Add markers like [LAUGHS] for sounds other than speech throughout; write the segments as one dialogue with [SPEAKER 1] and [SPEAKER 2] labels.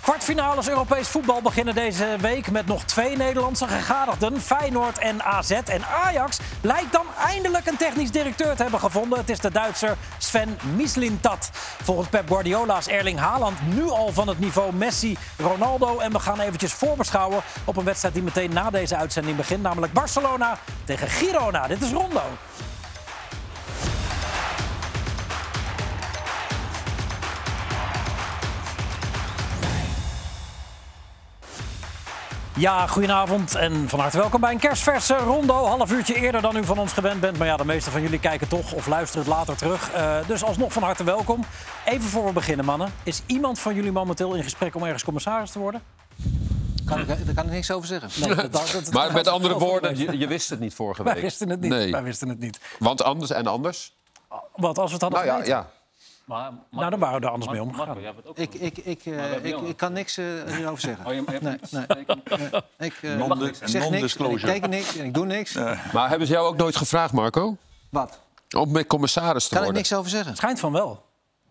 [SPEAKER 1] Kwartfinales Europees voetbal beginnen deze week met nog twee Nederlandse gegadigden. Feyenoord en AZ. En Ajax lijkt dan eindelijk een technisch directeur te hebben gevonden. Het is de Duitser Sven Mislintat. Volgens Pep Guardiola is Erling Haaland nu al van het niveau Messi, Ronaldo. En we gaan eventjes voorbeschouwen op een wedstrijd die meteen na deze uitzending begint. Namelijk Barcelona tegen Girona. Dit is Rondo. Ja, goedenavond en van harte welkom bij een kerstverse rondo. Half uurtje eerder dan u van ons gewend bent. Maar ja, de meeste van jullie kijken toch of luisteren het later terug. Eh, dus alsnog van harte welkom. Even voor we beginnen, mannen. Is iemand van jullie momenteel in gesprek om ergens commissaris te worden?
[SPEAKER 2] Kan ik, daar kan ik niks over zeggen.
[SPEAKER 1] Nee, dat- dat- dat-
[SPEAKER 3] Maar met andere
[SPEAKER 1] dat-
[SPEAKER 3] woorden, je, je wist het niet vorige week.
[SPEAKER 1] [LAUGHS] Wij wisten het niet.
[SPEAKER 3] Nee.
[SPEAKER 1] Wij wisten het niet.
[SPEAKER 3] Want anders en anders?
[SPEAKER 1] Want als we het hadden
[SPEAKER 3] Nou ja,
[SPEAKER 1] geweten,
[SPEAKER 3] ja.
[SPEAKER 4] Maar,
[SPEAKER 1] nou, dan waren we er anders mee omgegaan.
[SPEAKER 4] Marco, jij bent ook...
[SPEAKER 2] Ik, ik, ik, eh,
[SPEAKER 4] we hebben
[SPEAKER 2] ik,
[SPEAKER 4] jou.
[SPEAKER 2] ik kan niks eh, hierover zeggen.
[SPEAKER 4] Oh, je- je hebt
[SPEAKER 2] nee,
[SPEAKER 4] niks.
[SPEAKER 2] nee.
[SPEAKER 4] Nee, ik-
[SPEAKER 2] Ik, eh,
[SPEAKER 5] Non-
[SPEAKER 2] ik zeg niks, en ik
[SPEAKER 5] non-disclosure.
[SPEAKER 2] teken niks en ik doe niks.
[SPEAKER 3] Maar hebben ze jou ook nooit gevraagd, Marco?
[SPEAKER 2] Wat?
[SPEAKER 3] Om met commissaris te
[SPEAKER 2] Kan ik
[SPEAKER 3] worden?
[SPEAKER 2] niks over zeggen.
[SPEAKER 1] Schijnt van wel.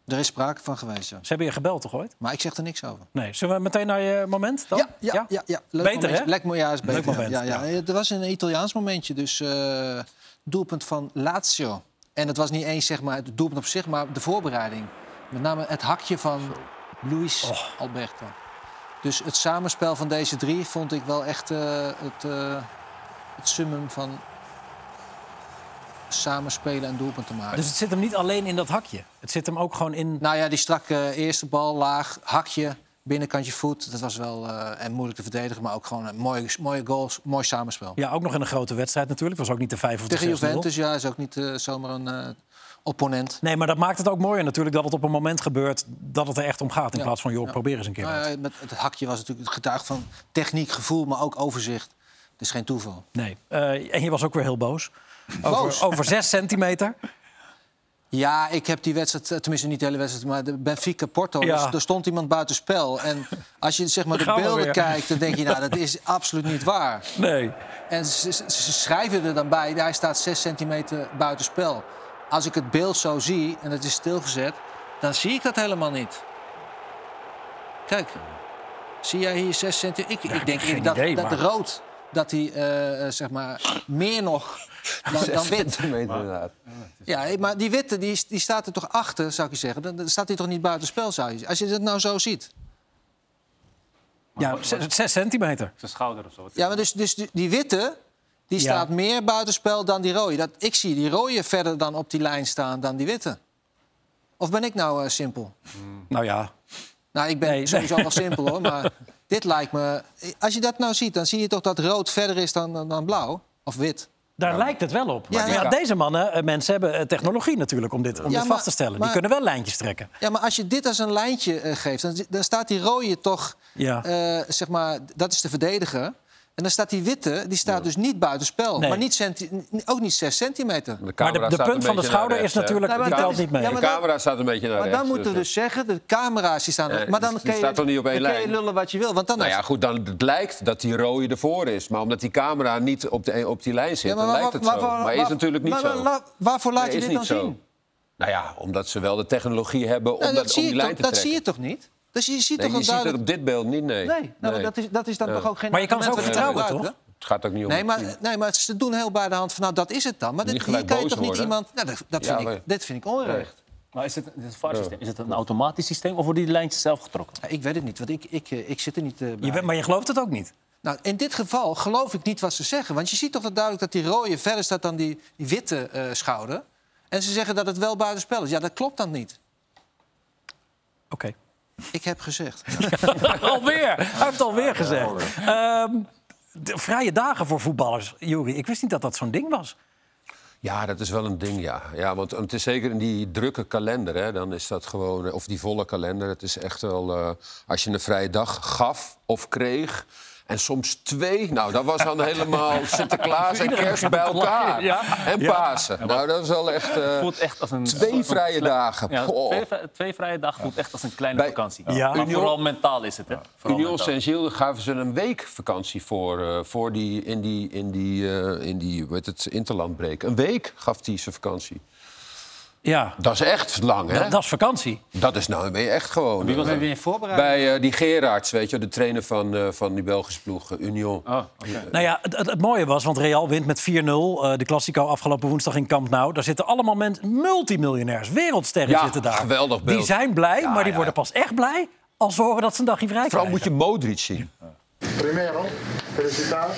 [SPEAKER 2] Er is sprake van geweest, ja.
[SPEAKER 1] Ze hebben je gebeld toch ooit?
[SPEAKER 2] Maar ik zeg er niks over.
[SPEAKER 1] Nee. Zullen we meteen naar je moment dan?
[SPEAKER 2] Ja, ja, ja. ja, Leuk
[SPEAKER 1] Beter,
[SPEAKER 2] momentje.
[SPEAKER 1] hè?
[SPEAKER 2] Leuk, mo- ja, is beter.
[SPEAKER 1] Leuk moment,
[SPEAKER 2] Ja, ja, Het was een Italiaans momentje, dus eh, doelpunt van Lazio. En het was niet eens zeg maar, het doelpunt op zich, maar de voorbereiding. Met name het hakje van Luis
[SPEAKER 1] Oh.
[SPEAKER 2] Alberto. Dus het samenspel van deze drie vond ik wel echt eh, het, eh, het summum van samenspelen en doelpunten maken.
[SPEAKER 1] Dus het zit hem niet alleen in dat hakje. Het zit hem ook gewoon in...
[SPEAKER 2] Nou ja, die strakke eerste bal, laag, hakje, binnenkantje voet. Dat was wel eh, en moeilijk te verdedigen, maar ook gewoon een mooie, mooie goals, mooi samenspel.
[SPEAKER 1] Ja, ook nog in een grote wedstrijd natuurlijk. Het was ook niet de vijf of de
[SPEAKER 2] Tegen
[SPEAKER 1] zes nul.
[SPEAKER 2] Juventus, ja, is ook niet eh, zomaar een eh, opponent.
[SPEAKER 1] Nee, maar dat maakt het ook mooier natuurlijk dat het op een moment gebeurt dat het er echt om gaat. In
[SPEAKER 2] Ja.
[SPEAKER 1] plaats van, joh, probeer eens een keer. wat.
[SPEAKER 2] Nou ja, met het hakje was natuurlijk het getuig van techniek, gevoel, maar ook overzicht. Het is geen toeval.
[SPEAKER 1] Nee. Eh, en je was ook weer heel boos. Over,
[SPEAKER 2] Boos?
[SPEAKER 1] over zes centimeter.
[SPEAKER 2] Ja, ik heb die wedstrijd, eh, tenminste niet de hele wedstrijd, maar de Benfica Porto.
[SPEAKER 1] Ja.
[SPEAKER 2] Dus er stond iemand buitenspel. En als je zeg maar, de
[SPEAKER 1] Daar gaan we
[SPEAKER 2] beelden
[SPEAKER 1] weer.
[SPEAKER 2] kijkt, dan denk je, nou, dat is absoluut niet waar.
[SPEAKER 1] Nee.
[SPEAKER 2] En ze, ze- ze schrijven er dan bij, hij staat 6 centimeter buitenspel. Als ik het beeld zo zie en het is stilgezet, dan zie ik dat helemaal niet. Kijk, zie jij hier 6 centimeter? Ik, ik denk dat,
[SPEAKER 1] idee,
[SPEAKER 2] dat
[SPEAKER 1] maar-
[SPEAKER 2] rood, dat hij eh, eh, zeg maar meer nog dan, dan wit.
[SPEAKER 3] inderdaad.
[SPEAKER 2] Ja, maar die witte die, die staat er toch achter, zou ik je zeggen. Dan, dan staat hij toch niet buitenspel, zou je Als je dat nou zo ziet.
[SPEAKER 1] Ja, zes, zes centimeter.
[SPEAKER 4] Zijn schouder of zo.
[SPEAKER 2] Ja, maar dus, dus die- die witte die
[SPEAKER 1] Ja.
[SPEAKER 2] staat meer buitenspel dan die rode. Dat, ik zie die rode verder dan op die lijn staan dan die witte. Of ben ik nou eh, simpel?
[SPEAKER 1] Nou ja.
[SPEAKER 2] Nou, ik ben
[SPEAKER 1] Nee,
[SPEAKER 2] sowieso
[SPEAKER 1] [LAUGHS]
[SPEAKER 2] wel simpel hoor, maar dit lijkt me... Als je dat nou ziet, dan zie je toch dat rood verder is dan, dan, dan blauw of wit.
[SPEAKER 1] Daar lijkt het wel op.
[SPEAKER 2] Ja,
[SPEAKER 1] Maar ja,
[SPEAKER 2] ja.
[SPEAKER 1] deze mannen, eh, mensen hebben eh, technologie natuurlijk om dit, om
[SPEAKER 2] Ja,
[SPEAKER 1] dit
[SPEAKER 2] maar-
[SPEAKER 1] vast te stellen.
[SPEAKER 2] maar-
[SPEAKER 1] Die kunnen wel lijntjes trekken.
[SPEAKER 2] Ja, maar als je dit als een lijntje eh, geeft, dan, dan staat die rode toch...
[SPEAKER 1] Ja.
[SPEAKER 2] eh, zeg maar, dat is de verdediger. En dan staat die witte, die staat dus niet buitenspel.
[SPEAKER 1] Nee.
[SPEAKER 2] Maar niet centi- ook niet 6 centimeter.
[SPEAKER 1] Maar de- de punt van de schouder is natuurlijk-
[SPEAKER 2] Nee, maar
[SPEAKER 3] die
[SPEAKER 2] die dat telt
[SPEAKER 3] telt
[SPEAKER 2] is- niet
[SPEAKER 3] niet
[SPEAKER 2] mee.
[SPEAKER 3] mee.
[SPEAKER 2] ja,
[SPEAKER 3] de
[SPEAKER 2] maar dat-
[SPEAKER 3] camera staat een beetje naar
[SPEAKER 2] Maar
[SPEAKER 3] rechts.
[SPEAKER 2] dan moeten we dus zeggen, de camera's die staan er.
[SPEAKER 3] Eh,
[SPEAKER 2] Maar dan
[SPEAKER 3] die- die
[SPEAKER 2] kun je,
[SPEAKER 3] staat toch niet op één
[SPEAKER 2] dan kun je
[SPEAKER 3] lijn?
[SPEAKER 2] lullen wat je wil. Want dan
[SPEAKER 3] Nou
[SPEAKER 2] is-
[SPEAKER 3] ja, goed, dan blijkt dat die rode ervoor is. Maar omdat die camera niet op, de, op die lijn zit,
[SPEAKER 2] Ja,
[SPEAKER 3] dan lijkt het zo.
[SPEAKER 2] waar-
[SPEAKER 3] maar is
[SPEAKER 2] waar-
[SPEAKER 3] natuurlijk niet
[SPEAKER 2] maar waar-
[SPEAKER 3] zo.
[SPEAKER 2] la- waarvoor laat
[SPEAKER 3] Nee,
[SPEAKER 2] je
[SPEAKER 3] is
[SPEAKER 2] dit
[SPEAKER 3] niet
[SPEAKER 2] dan
[SPEAKER 3] zo.
[SPEAKER 2] zien?
[SPEAKER 3] Nou ja, omdat ze wel de technologie hebben om,
[SPEAKER 2] Nou,
[SPEAKER 3] dat,
[SPEAKER 2] dat
[SPEAKER 3] om
[SPEAKER 2] zie,
[SPEAKER 3] die
[SPEAKER 2] je
[SPEAKER 3] lijn
[SPEAKER 2] toch,
[SPEAKER 3] te
[SPEAKER 2] dat
[SPEAKER 3] trekken.
[SPEAKER 2] zie je toch niet? Dus je ziet
[SPEAKER 3] Nee,
[SPEAKER 2] toch
[SPEAKER 3] je
[SPEAKER 2] een
[SPEAKER 3] ziet het
[SPEAKER 2] duidelijk...
[SPEAKER 3] op dit beeld niet, nee.
[SPEAKER 2] Nee, nou,
[SPEAKER 3] Nee.
[SPEAKER 2] Dat, is, dat is dan toch ook geen
[SPEAKER 1] Maar je kan ze ook
[SPEAKER 2] argument wat
[SPEAKER 1] vertrouwen,
[SPEAKER 2] gebruikt,
[SPEAKER 1] toch?
[SPEAKER 2] hè?
[SPEAKER 3] Het gaat ook niet om
[SPEAKER 2] Nee
[SPEAKER 3] het
[SPEAKER 2] maar,
[SPEAKER 3] team.
[SPEAKER 2] nee, maar ze doen heel bij de hand van, nou, dat is het dan. Maar dit,
[SPEAKER 3] Niet
[SPEAKER 2] hier
[SPEAKER 3] gelijk
[SPEAKER 2] kan je
[SPEAKER 3] boos
[SPEAKER 2] toch niet
[SPEAKER 3] worden.
[SPEAKER 2] iemand... Nou, dat, dat
[SPEAKER 3] Ja,
[SPEAKER 2] vind ik,
[SPEAKER 3] maar-
[SPEAKER 2] dit vind ik onrecht.
[SPEAKER 4] Maar is het, dit is het VAR-systeem? Is het een automatisch systeem of worden die lijntjes zelf getrokken?
[SPEAKER 2] Ja, ik weet het niet, want ik, ik, eh, ik zit er niet eh, bij.
[SPEAKER 1] Je bent, maar je gelooft het ook niet.
[SPEAKER 2] Nou, in dit geval geloof ik niet wat ze zeggen. Want je ziet toch wel duidelijk dat die rode verder staat dan die, die witte eh, schouder. En ze zeggen dat het wel buitenspel is. Ja, dat klopt dan niet. [LAUGHS]
[SPEAKER 1] Oké. [LAUGHS]
[SPEAKER 2] Ik heb gezegd.
[SPEAKER 1] alweer. Hij heeft alweer gezegd. Ehm, de vrije dagen voor voetballers, Juri. Ik wist niet dat dat zo'n ding was.
[SPEAKER 3] Ja, dat is wel een ding, ja. ja want het is zeker in die drukke kalender, hè, dan is dat gewoon... eh, of die volle kalender, het is echt wel... eh, als je een vrije dag gaf of kreeg... En soms twee. Nou, dat was
[SPEAKER 4] [LAUGHS]
[SPEAKER 3] dan helemaal Sinterklaas en kerst bij elkaar.
[SPEAKER 4] Ja.
[SPEAKER 3] En Pasen. Nou, dat is wel echt... eh,
[SPEAKER 4] voelt echt als een... als
[SPEAKER 3] twee
[SPEAKER 4] een-
[SPEAKER 3] vrije dagen.
[SPEAKER 4] Ja,
[SPEAKER 3] Goh.
[SPEAKER 4] twee, vri- twee vrije dagen voelt echt als een kleine
[SPEAKER 3] Bij-
[SPEAKER 4] vakantie.
[SPEAKER 1] Ja.
[SPEAKER 4] Maar
[SPEAKER 3] Union-
[SPEAKER 4] vooral mentaal is het, hè? Vooral
[SPEAKER 3] Union
[SPEAKER 4] mentaal.
[SPEAKER 3] Saint-Gilles gaven ze een week vakantie voor, eh, voor die, in die, in die, eh, in die hoe heet het, interlandbreek. Een week gaf hij zijn vakantie.
[SPEAKER 1] Ja,
[SPEAKER 3] Dat is echt lang, hè?
[SPEAKER 1] dat, dat is vakantie.
[SPEAKER 3] Dat is nou ben je echt gewoon.
[SPEAKER 4] Wie was
[SPEAKER 3] eh,
[SPEAKER 4] er weer
[SPEAKER 2] Voorbereiding.
[SPEAKER 3] bij eh, die Gerards, weet je, de trainer van, eh, van die Belgische ploeg, eh, Union.
[SPEAKER 4] Oh, oké.
[SPEAKER 1] Nou ja, het, het- het mooie was, want Real wint met 4-0. eh, de Classico afgelopen woensdag in Camp Nou. Daar zitten allemaal mensen, multimiljonairs, wereldsterren
[SPEAKER 3] Ja,
[SPEAKER 1] zitten daar.
[SPEAKER 3] geweldig
[SPEAKER 1] Die
[SPEAKER 3] beeld.
[SPEAKER 1] zijn blij, maar die
[SPEAKER 3] ja,
[SPEAKER 1] worden pas echt blij als ze horen dat ze een dagje vrij
[SPEAKER 3] Vooral
[SPEAKER 1] krijgen.
[SPEAKER 3] moet je Modric zien.
[SPEAKER 5] Primero, felicidad.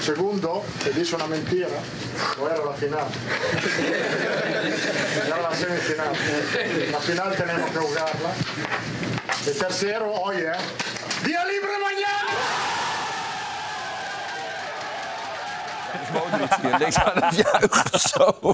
[SPEAKER 5] Segundo, te dice una mentira. No era la final. Era la semifinal. La final tenemos que jugarla. El tercero, oye, ¿eh? día libre mañana.
[SPEAKER 3] Modric hier niks aan het juichen. Zo.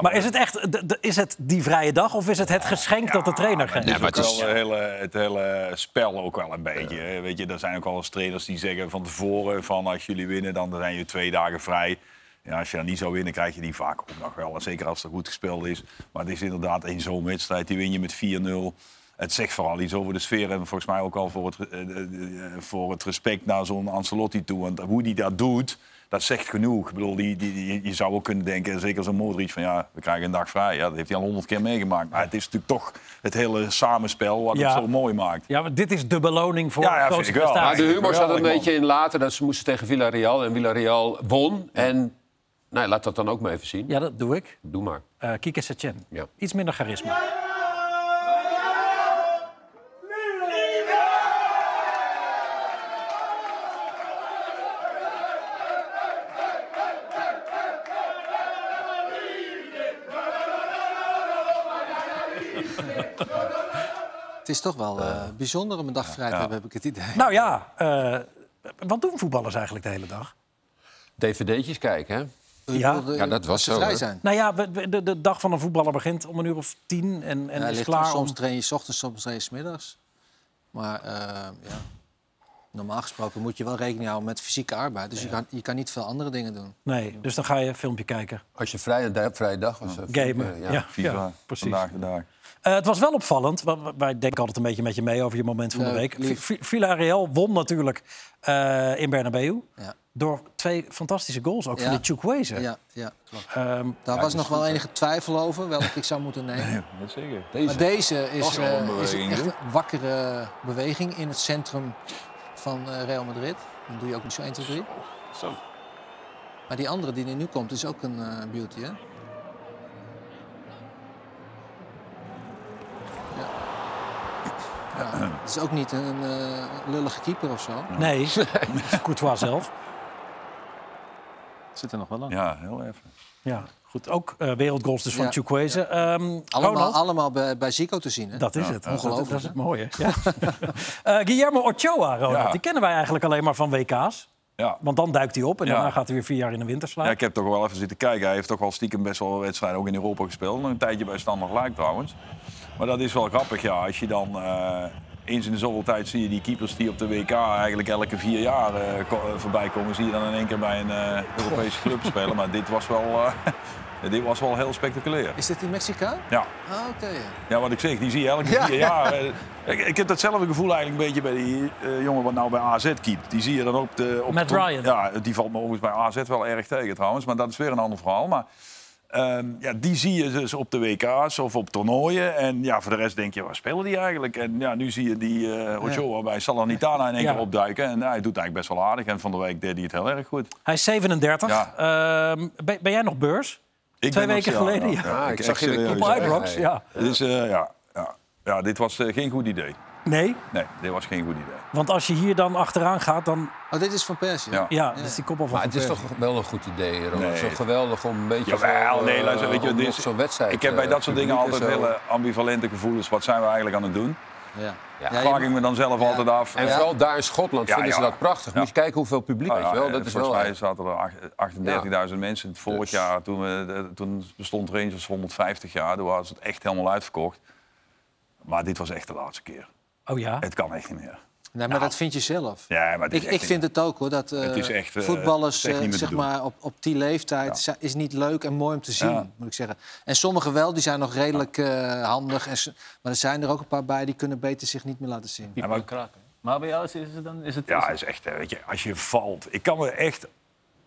[SPEAKER 1] Maar is het echt de- de- is het die vrije dag of is het het geschenk dat de trainer geeft?
[SPEAKER 3] maar het
[SPEAKER 6] het,
[SPEAKER 3] is- eh,
[SPEAKER 6] wel het hele, het hele spel ook wel een beetje. hè. Weet je, er zijn ook wel eens trainers die zeggen van tevoren... van als jullie winnen, dan zijn je twee dagen vrij. Ja, als je dan niet zou winnen, krijg je die vaak ook nog wel. En zeker als er goed gespeeld is. Maar het is inderdaad één zo'n wedstrijd. Die win je met 4-0. Het zegt vooral iets over de sfeer. En volgens mij ook al voor het, eh, eh, eh, voor het respect naar zo'n Ancelotti toe. Want hoe die dat doet, dat zegt genoeg. Ik bedoel, die, die, die- je zou ook kunnen denken, zeker als een Modric, van ja, we krijgen een dag vrij. Ja, dat heeft hij al honderd keer meegemaakt. Maar het is natuurlijk toch het hele samenspel wat
[SPEAKER 1] Ja.
[SPEAKER 6] het zo mooi maakt.
[SPEAKER 1] Ja, maar dit is de beloning voor
[SPEAKER 6] Ja, ja,
[SPEAKER 1] grote
[SPEAKER 6] vind ik wel.
[SPEAKER 1] prestaties.
[SPEAKER 3] Maar de humor zat een
[SPEAKER 6] Geweldig, man.
[SPEAKER 3] beetje in later. Dat ze moesten tegen Villarreal en Villarreal won. En nou, laat dat dan ook maar even zien.
[SPEAKER 1] Ja, dat doe ik.
[SPEAKER 3] Doe maar.
[SPEAKER 1] Eh Kike Setien.
[SPEAKER 3] Ja.
[SPEAKER 1] Iets minder charisma.
[SPEAKER 2] Het is toch wel eh, bijzonder om een dag vrij te hebben, heb ik het idee.
[SPEAKER 1] Nou ja, eh, wat doen voetballers eigenlijk de hele dag?
[SPEAKER 3] DVD'tjes kijken, hè?
[SPEAKER 2] Ik
[SPEAKER 1] ja.
[SPEAKER 2] bedoel, eh,
[SPEAKER 3] Ja, dat was
[SPEAKER 2] ze
[SPEAKER 3] zo,
[SPEAKER 2] vrij
[SPEAKER 3] hè?
[SPEAKER 2] zijn.
[SPEAKER 1] Nou ja, we- we- de, de dag van een voetballer begint om een uur of tien en, en
[SPEAKER 2] Ja,
[SPEAKER 1] is
[SPEAKER 2] ligt
[SPEAKER 1] klaar.
[SPEAKER 2] er. soms
[SPEAKER 1] om-
[SPEAKER 2] train je 's ochtends, soms train je 's middags. Maar eh, ja, normaal gesproken moet je wel rekening houden met fysieke arbeid. Dus je, kan, je kan niet veel andere dingen doen.
[SPEAKER 1] Nee, dus dan ga je een filmpje kijken.
[SPEAKER 3] Als je vrij, een vrije dag was. eh,
[SPEAKER 1] Gamen.
[SPEAKER 3] eh,
[SPEAKER 1] Ja,
[SPEAKER 6] FIFA,
[SPEAKER 1] ja, precies.
[SPEAKER 6] vandaag de dag.
[SPEAKER 1] Eh, het was wel opvallend. wa- wa- Wij denken altijd een beetje met je mee over je moment van de
[SPEAKER 2] Leuk,
[SPEAKER 1] week.
[SPEAKER 2] lief.
[SPEAKER 1] Vi- Vi- Villarreal won natuurlijk eh, in Bernabeu.
[SPEAKER 2] Ja.
[SPEAKER 1] Door twee fantastische goals, ook van
[SPEAKER 2] Ja.
[SPEAKER 1] de Chukwueze.
[SPEAKER 2] Ja, ja klopt.
[SPEAKER 1] Ehm,
[SPEAKER 2] Daar was nog wel enige twijfel over welke ik zou moeten nemen.
[SPEAKER 6] Dat zeker.
[SPEAKER 2] Maar
[SPEAKER 3] Deze.
[SPEAKER 2] deze is,
[SPEAKER 6] wel een
[SPEAKER 2] eh, is
[SPEAKER 6] beweging,
[SPEAKER 2] echt een wakkere beweging in het centrum van eh, Real Madrid. Dan doe je ook niet zo 1, 2, 3.
[SPEAKER 6] Zo.
[SPEAKER 2] Maar die andere die er nu komt is ook een eh, beauty, hè? Ja. Ja, het is ook niet een eh, lullige keeper of zo. [LAUGHS]
[SPEAKER 1] nee, Courtois zelf.
[SPEAKER 4] Zit er nog wel aan.
[SPEAKER 6] Ja, heel even.
[SPEAKER 1] Ja, goed. Ook eh, wereldgoals dus van
[SPEAKER 2] Ja.
[SPEAKER 1] Chukwueze. Ehm,
[SPEAKER 2] Allemaal,
[SPEAKER 1] Ronald,
[SPEAKER 2] allemaal bij, bij Zico te zien, hè?
[SPEAKER 1] dat is het.
[SPEAKER 2] Ongelooflijk,
[SPEAKER 1] Dat is het
[SPEAKER 2] hè?
[SPEAKER 1] mooie.
[SPEAKER 2] [LAUGHS]
[SPEAKER 1] Ja. Eh, Guillermo Ochoa, Ronald.
[SPEAKER 6] Ja.
[SPEAKER 1] Die kennen wij eigenlijk alleen maar van WK's.
[SPEAKER 6] Ja.
[SPEAKER 1] Want dan duikt hij op en
[SPEAKER 6] Ja.
[SPEAKER 1] daarna gaat hij weer vier jaar in de winter slaan.
[SPEAKER 6] Ja, ik heb toch wel even zitten kijken. Hij heeft toch wel stiekem best wel wedstrijden ook in Europa gespeeld. Nog Een tijdje bij Standard Luik trouwens. Maar dat is wel grappig, ja. Als je dan eh, eens in de zoveel tijd zie je die keepers die op de WK eigenlijk elke vier jaar eh, ko- eh, voorbij komen. Zie je dan in één keer bij een eh, Europese club spelen. Maar dit was wel, eh, [LAUGHS] dit was wel heel spectaculair.
[SPEAKER 2] Is dit in Mexico?
[SPEAKER 6] Ja.
[SPEAKER 2] Ah, oké.
[SPEAKER 6] Ja, wat ik zeg, die zie je elke vier jaar. Eh, Ik, ik heb datzelfde gevoel eigenlijk een beetje bij die eh, jongen wat nou bij AZ keept. Die zie je dan ook... De, op
[SPEAKER 1] Matt
[SPEAKER 6] de-
[SPEAKER 1] Ryan.
[SPEAKER 6] Ja, die valt me overigens bij AZ wel erg tegen trouwens. Maar dat is weer een ander verhaal. Maar ehm, ja, die zie je dus op de WK's of op toernooien. En ja, voor de rest denk je, waar spelen die eigenlijk? En ja, nu zie je die eh Ochoa bij Salernitana in één
[SPEAKER 1] Ja.
[SPEAKER 6] keer opduiken. En ja, hij doet eigenlijk best wel aardig. En van de week deed hij het heel erg goed.
[SPEAKER 1] Hij is 37.
[SPEAKER 6] Ja.
[SPEAKER 1] Ehm, ben, ben jij nog beurs?
[SPEAKER 6] Ik
[SPEAKER 1] Twee
[SPEAKER 6] ben nog-
[SPEAKER 1] weken
[SPEAKER 6] ja,
[SPEAKER 1] geleden,
[SPEAKER 6] ja,
[SPEAKER 1] ja.
[SPEAKER 6] ja,
[SPEAKER 3] Ah, ik
[SPEAKER 6] ik
[SPEAKER 3] zag je weer
[SPEAKER 6] serieus.
[SPEAKER 1] Op
[SPEAKER 3] Ja, ja,
[SPEAKER 1] Ibrox,
[SPEAKER 3] ja.
[SPEAKER 1] ja.
[SPEAKER 6] Dus eh, ja, ja, ja, dit was eh, geen goed idee.
[SPEAKER 1] Nee,
[SPEAKER 6] Nee, dit was geen goed idee.
[SPEAKER 1] want als je hier dan achteraan gaat, dan...
[SPEAKER 2] Oh, dit is van Persie.
[SPEAKER 6] Ja.
[SPEAKER 1] Ja, dat is die koppel van
[SPEAKER 3] Maar het
[SPEAKER 1] Van
[SPEAKER 3] is
[SPEAKER 1] Persie.
[SPEAKER 3] toch wel een goed idee, Ronald.
[SPEAKER 6] Nee.
[SPEAKER 3] Zo geweldig om een beetje...
[SPEAKER 6] Jawel,
[SPEAKER 3] zo,
[SPEAKER 6] nee,
[SPEAKER 3] eh,
[SPEAKER 6] luister, weet je,
[SPEAKER 3] om
[SPEAKER 6] dit
[SPEAKER 3] nog
[SPEAKER 6] is-
[SPEAKER 3] zo'n wedstrijd...
[SPEAKER 6] Ik heb bij
[SPEAKER 3] eh,
[SPEAKER 6] dat soort dingen
[SPEAKER 3] publiek en
[SPEAKER 6] altijd
[SPEAKER 3] zo.
[SPEAKER 6] hele ambivalente gevoelens. Wat zijn we eigenlijk aan het doen?
[SPEAKER 2] Ja.
[SPEAKER 3] Ja,
[SPEAKER 2] Ja, je-
[SPEAKER 6] Vraag ik me dan zelf altijd af.
[SPEAKER 3] En
[SPEAKER 6] Ja,
[SPEAKER 3] vooral daar in Schotland
[SPEAKER 6] Ja,
[SPEAKER 3] vinden ze
[SPEAKER 6] ja.
[SPEAKER 3] dat prachtig. Moet
[SPEAKER 6] Ja.
[SPEAKER 3] je kijken hoeveel publiek, weet
[SPEAKER 6] ja,
[SPEAKER 3] je wel.
[SPEAKER 6] eh,
[SPEAKER 3] Dat is
[SPEAKER 6] volgens
[SPEAKER 3] wel...
[SPEAKER 6] mij zaten er ach- 38.000 mensen. Vorig
[SPEAKER 3] Dus.
[SPEAKER 6] jaar, toen, we, de- toen bestond Rangers 150 jaar. Toen was het echt helemaal uitverkocht. Maar dit was echt de laatste keer.
[SPEAKER 1] Oh ja?
[SPEAKER 6] Het kan echt niet meer.
[SPEAKER 2] Nee, maar dat vind je zelf.
[SPEAKER 6] Nou. Ja, maar het is
[SPEAKER 2] Ik,
[SPEAKER 6] echt
[SPEAKER 2] ik
[SPEAKER 6] niet
[SPEAKER 2] vind het ook hoor, dat eh,
[SPEAKER 6] Het is echt, eh,
[SPEAKER 2] voetballers
[SPEAKER 6] het is echt niet
[SPEAKER 2] eh,
[SPEAKER 6] meer te
[SPEAKER 2] zeg
[SPEAKER 6] doen.
[SPEAKER 2] maar, op, op die leeftijd zi- is niet leuk en mooi om te zien,
[SPEAKER 6] Ja.
[SPEAKER 2] moet ik zeggen. En sommigen wel, die zijn nog redelijk eh, handig. En, s- maar er zijn er ook een paar bij die kunnen beter zich niet meer laten zien.
[SPEAKER 4] Ja, maar... kraken. Maar bij jou is, is het dan... Is het,
[SPEAKER 6] Ja,
[SPEAKER 4] is
[SPEAKER 6] is echt, eh, weet je, als je valt. Ik kan me echt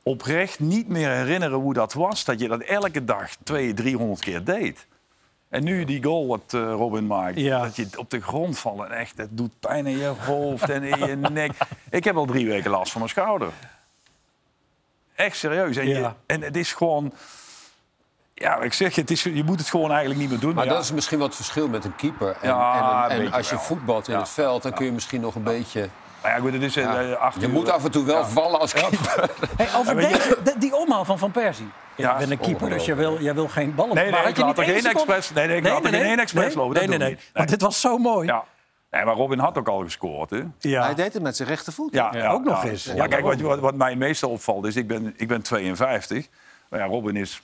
[SPEAKER 6] oprecht niet meer herinneren hoe dat was. Dat je dat elke dag 200, 300 keer deed. En nu die goal wat eh, Robin maakt.
[SPEAKER 1] Ja.
[SPEAKER 6] Dat je op de grond valt. En echt, dat doet pijn in je hoofd en in je [LAUGHS] nek. Ik heb al drie weken last van mijn schouder. Echt serieus. En, je,
[SPEAKER 1] Ja.
[SPEAKER 6] en het is gewoon... Ja, ik zeg je, het is, je moet het gewoon eigenlijk niet meer doen.
[SPEAKER 3] Maar
[SPEAKER 6] ja.
[SPEAKER 3] dat is misschien wat verschil met een keeper. En,
[SPEAKER 6] Ja,
[SPEAKER 3] en, en,
[SPEAKER 6] een
[SPEAKER 3] en
[SPEAKER 6] beetje
[SPEAKER 3] als je
[SPEAKER 6] wel.
[SPEAKER 3] voetbalt in
[SPEAKER 6] Ja.
[SPEAKER 3] het veld, dan kun je misschien nog een beetje...
[SPEAKER 6] Maar ja, goed, het is eh,
[SPEAKER 3] ja,
[SPEAKER 6] acht
[SPEAKER 3] je
[SPEAKER 6] uur.
[SPEAKER 3] moet af en toe wel vallen als
[SPEAKER 6] [LAUGHS]
[SPEAKER 3] keeper.
[SPEAKER 1] Hey, over
[SPEAKER 6] Ja, maar
[SPEAKER 1] deze, de- die omhaal van Van Persie. Ja,
[SPEAKER 6] Ja,
[SPEAKER 1] ik ben een keeper, dus jij wil, jij wil geen ballen.
[SPEAKER 6] Nee, nee,
[SPEAKER 1] had
[SPEAKER 6] ik
[SPEAKER 1] je
[SPEAKER 6] laat
[SPEAKER 1] niet
[SPEAKER 6] er
[SPEAKER 1] één
[SPEAKER 6] geen
[SPEAKER 1] seconde-
[SPEAKER 6] expres- nee, nee, ik laat er geen één expres
[SPEAKER 1] nee,
[SPEAKER 6] lopen, dat
[SPEAKER 1] Nee, nee,
[SPEAKER 6] doe
[SPEAKER 1] nee.
[SPEAKER 6] ik niet.
[SPEAKER 1] Maar dit was zo mooi.
[SPEAKER 6] Ja. Nee, maar Robin had ook al gescoord, hè?
[SPEAKER 1] Ja.
[SPEAKER 2] Hij deed het met zijn rechtervoet.
[SPEAKER 6] Ja,
[SPEAKER 1] Ja, ook nog eens.
[SPEAKER 6] Ja,
[SPEAKER 1] Ja,
[SPEAKER 6] kijk, wat, wat, wat mij meestal opvalt is, ik ben, ik ben 52. Maar ja, Robin is...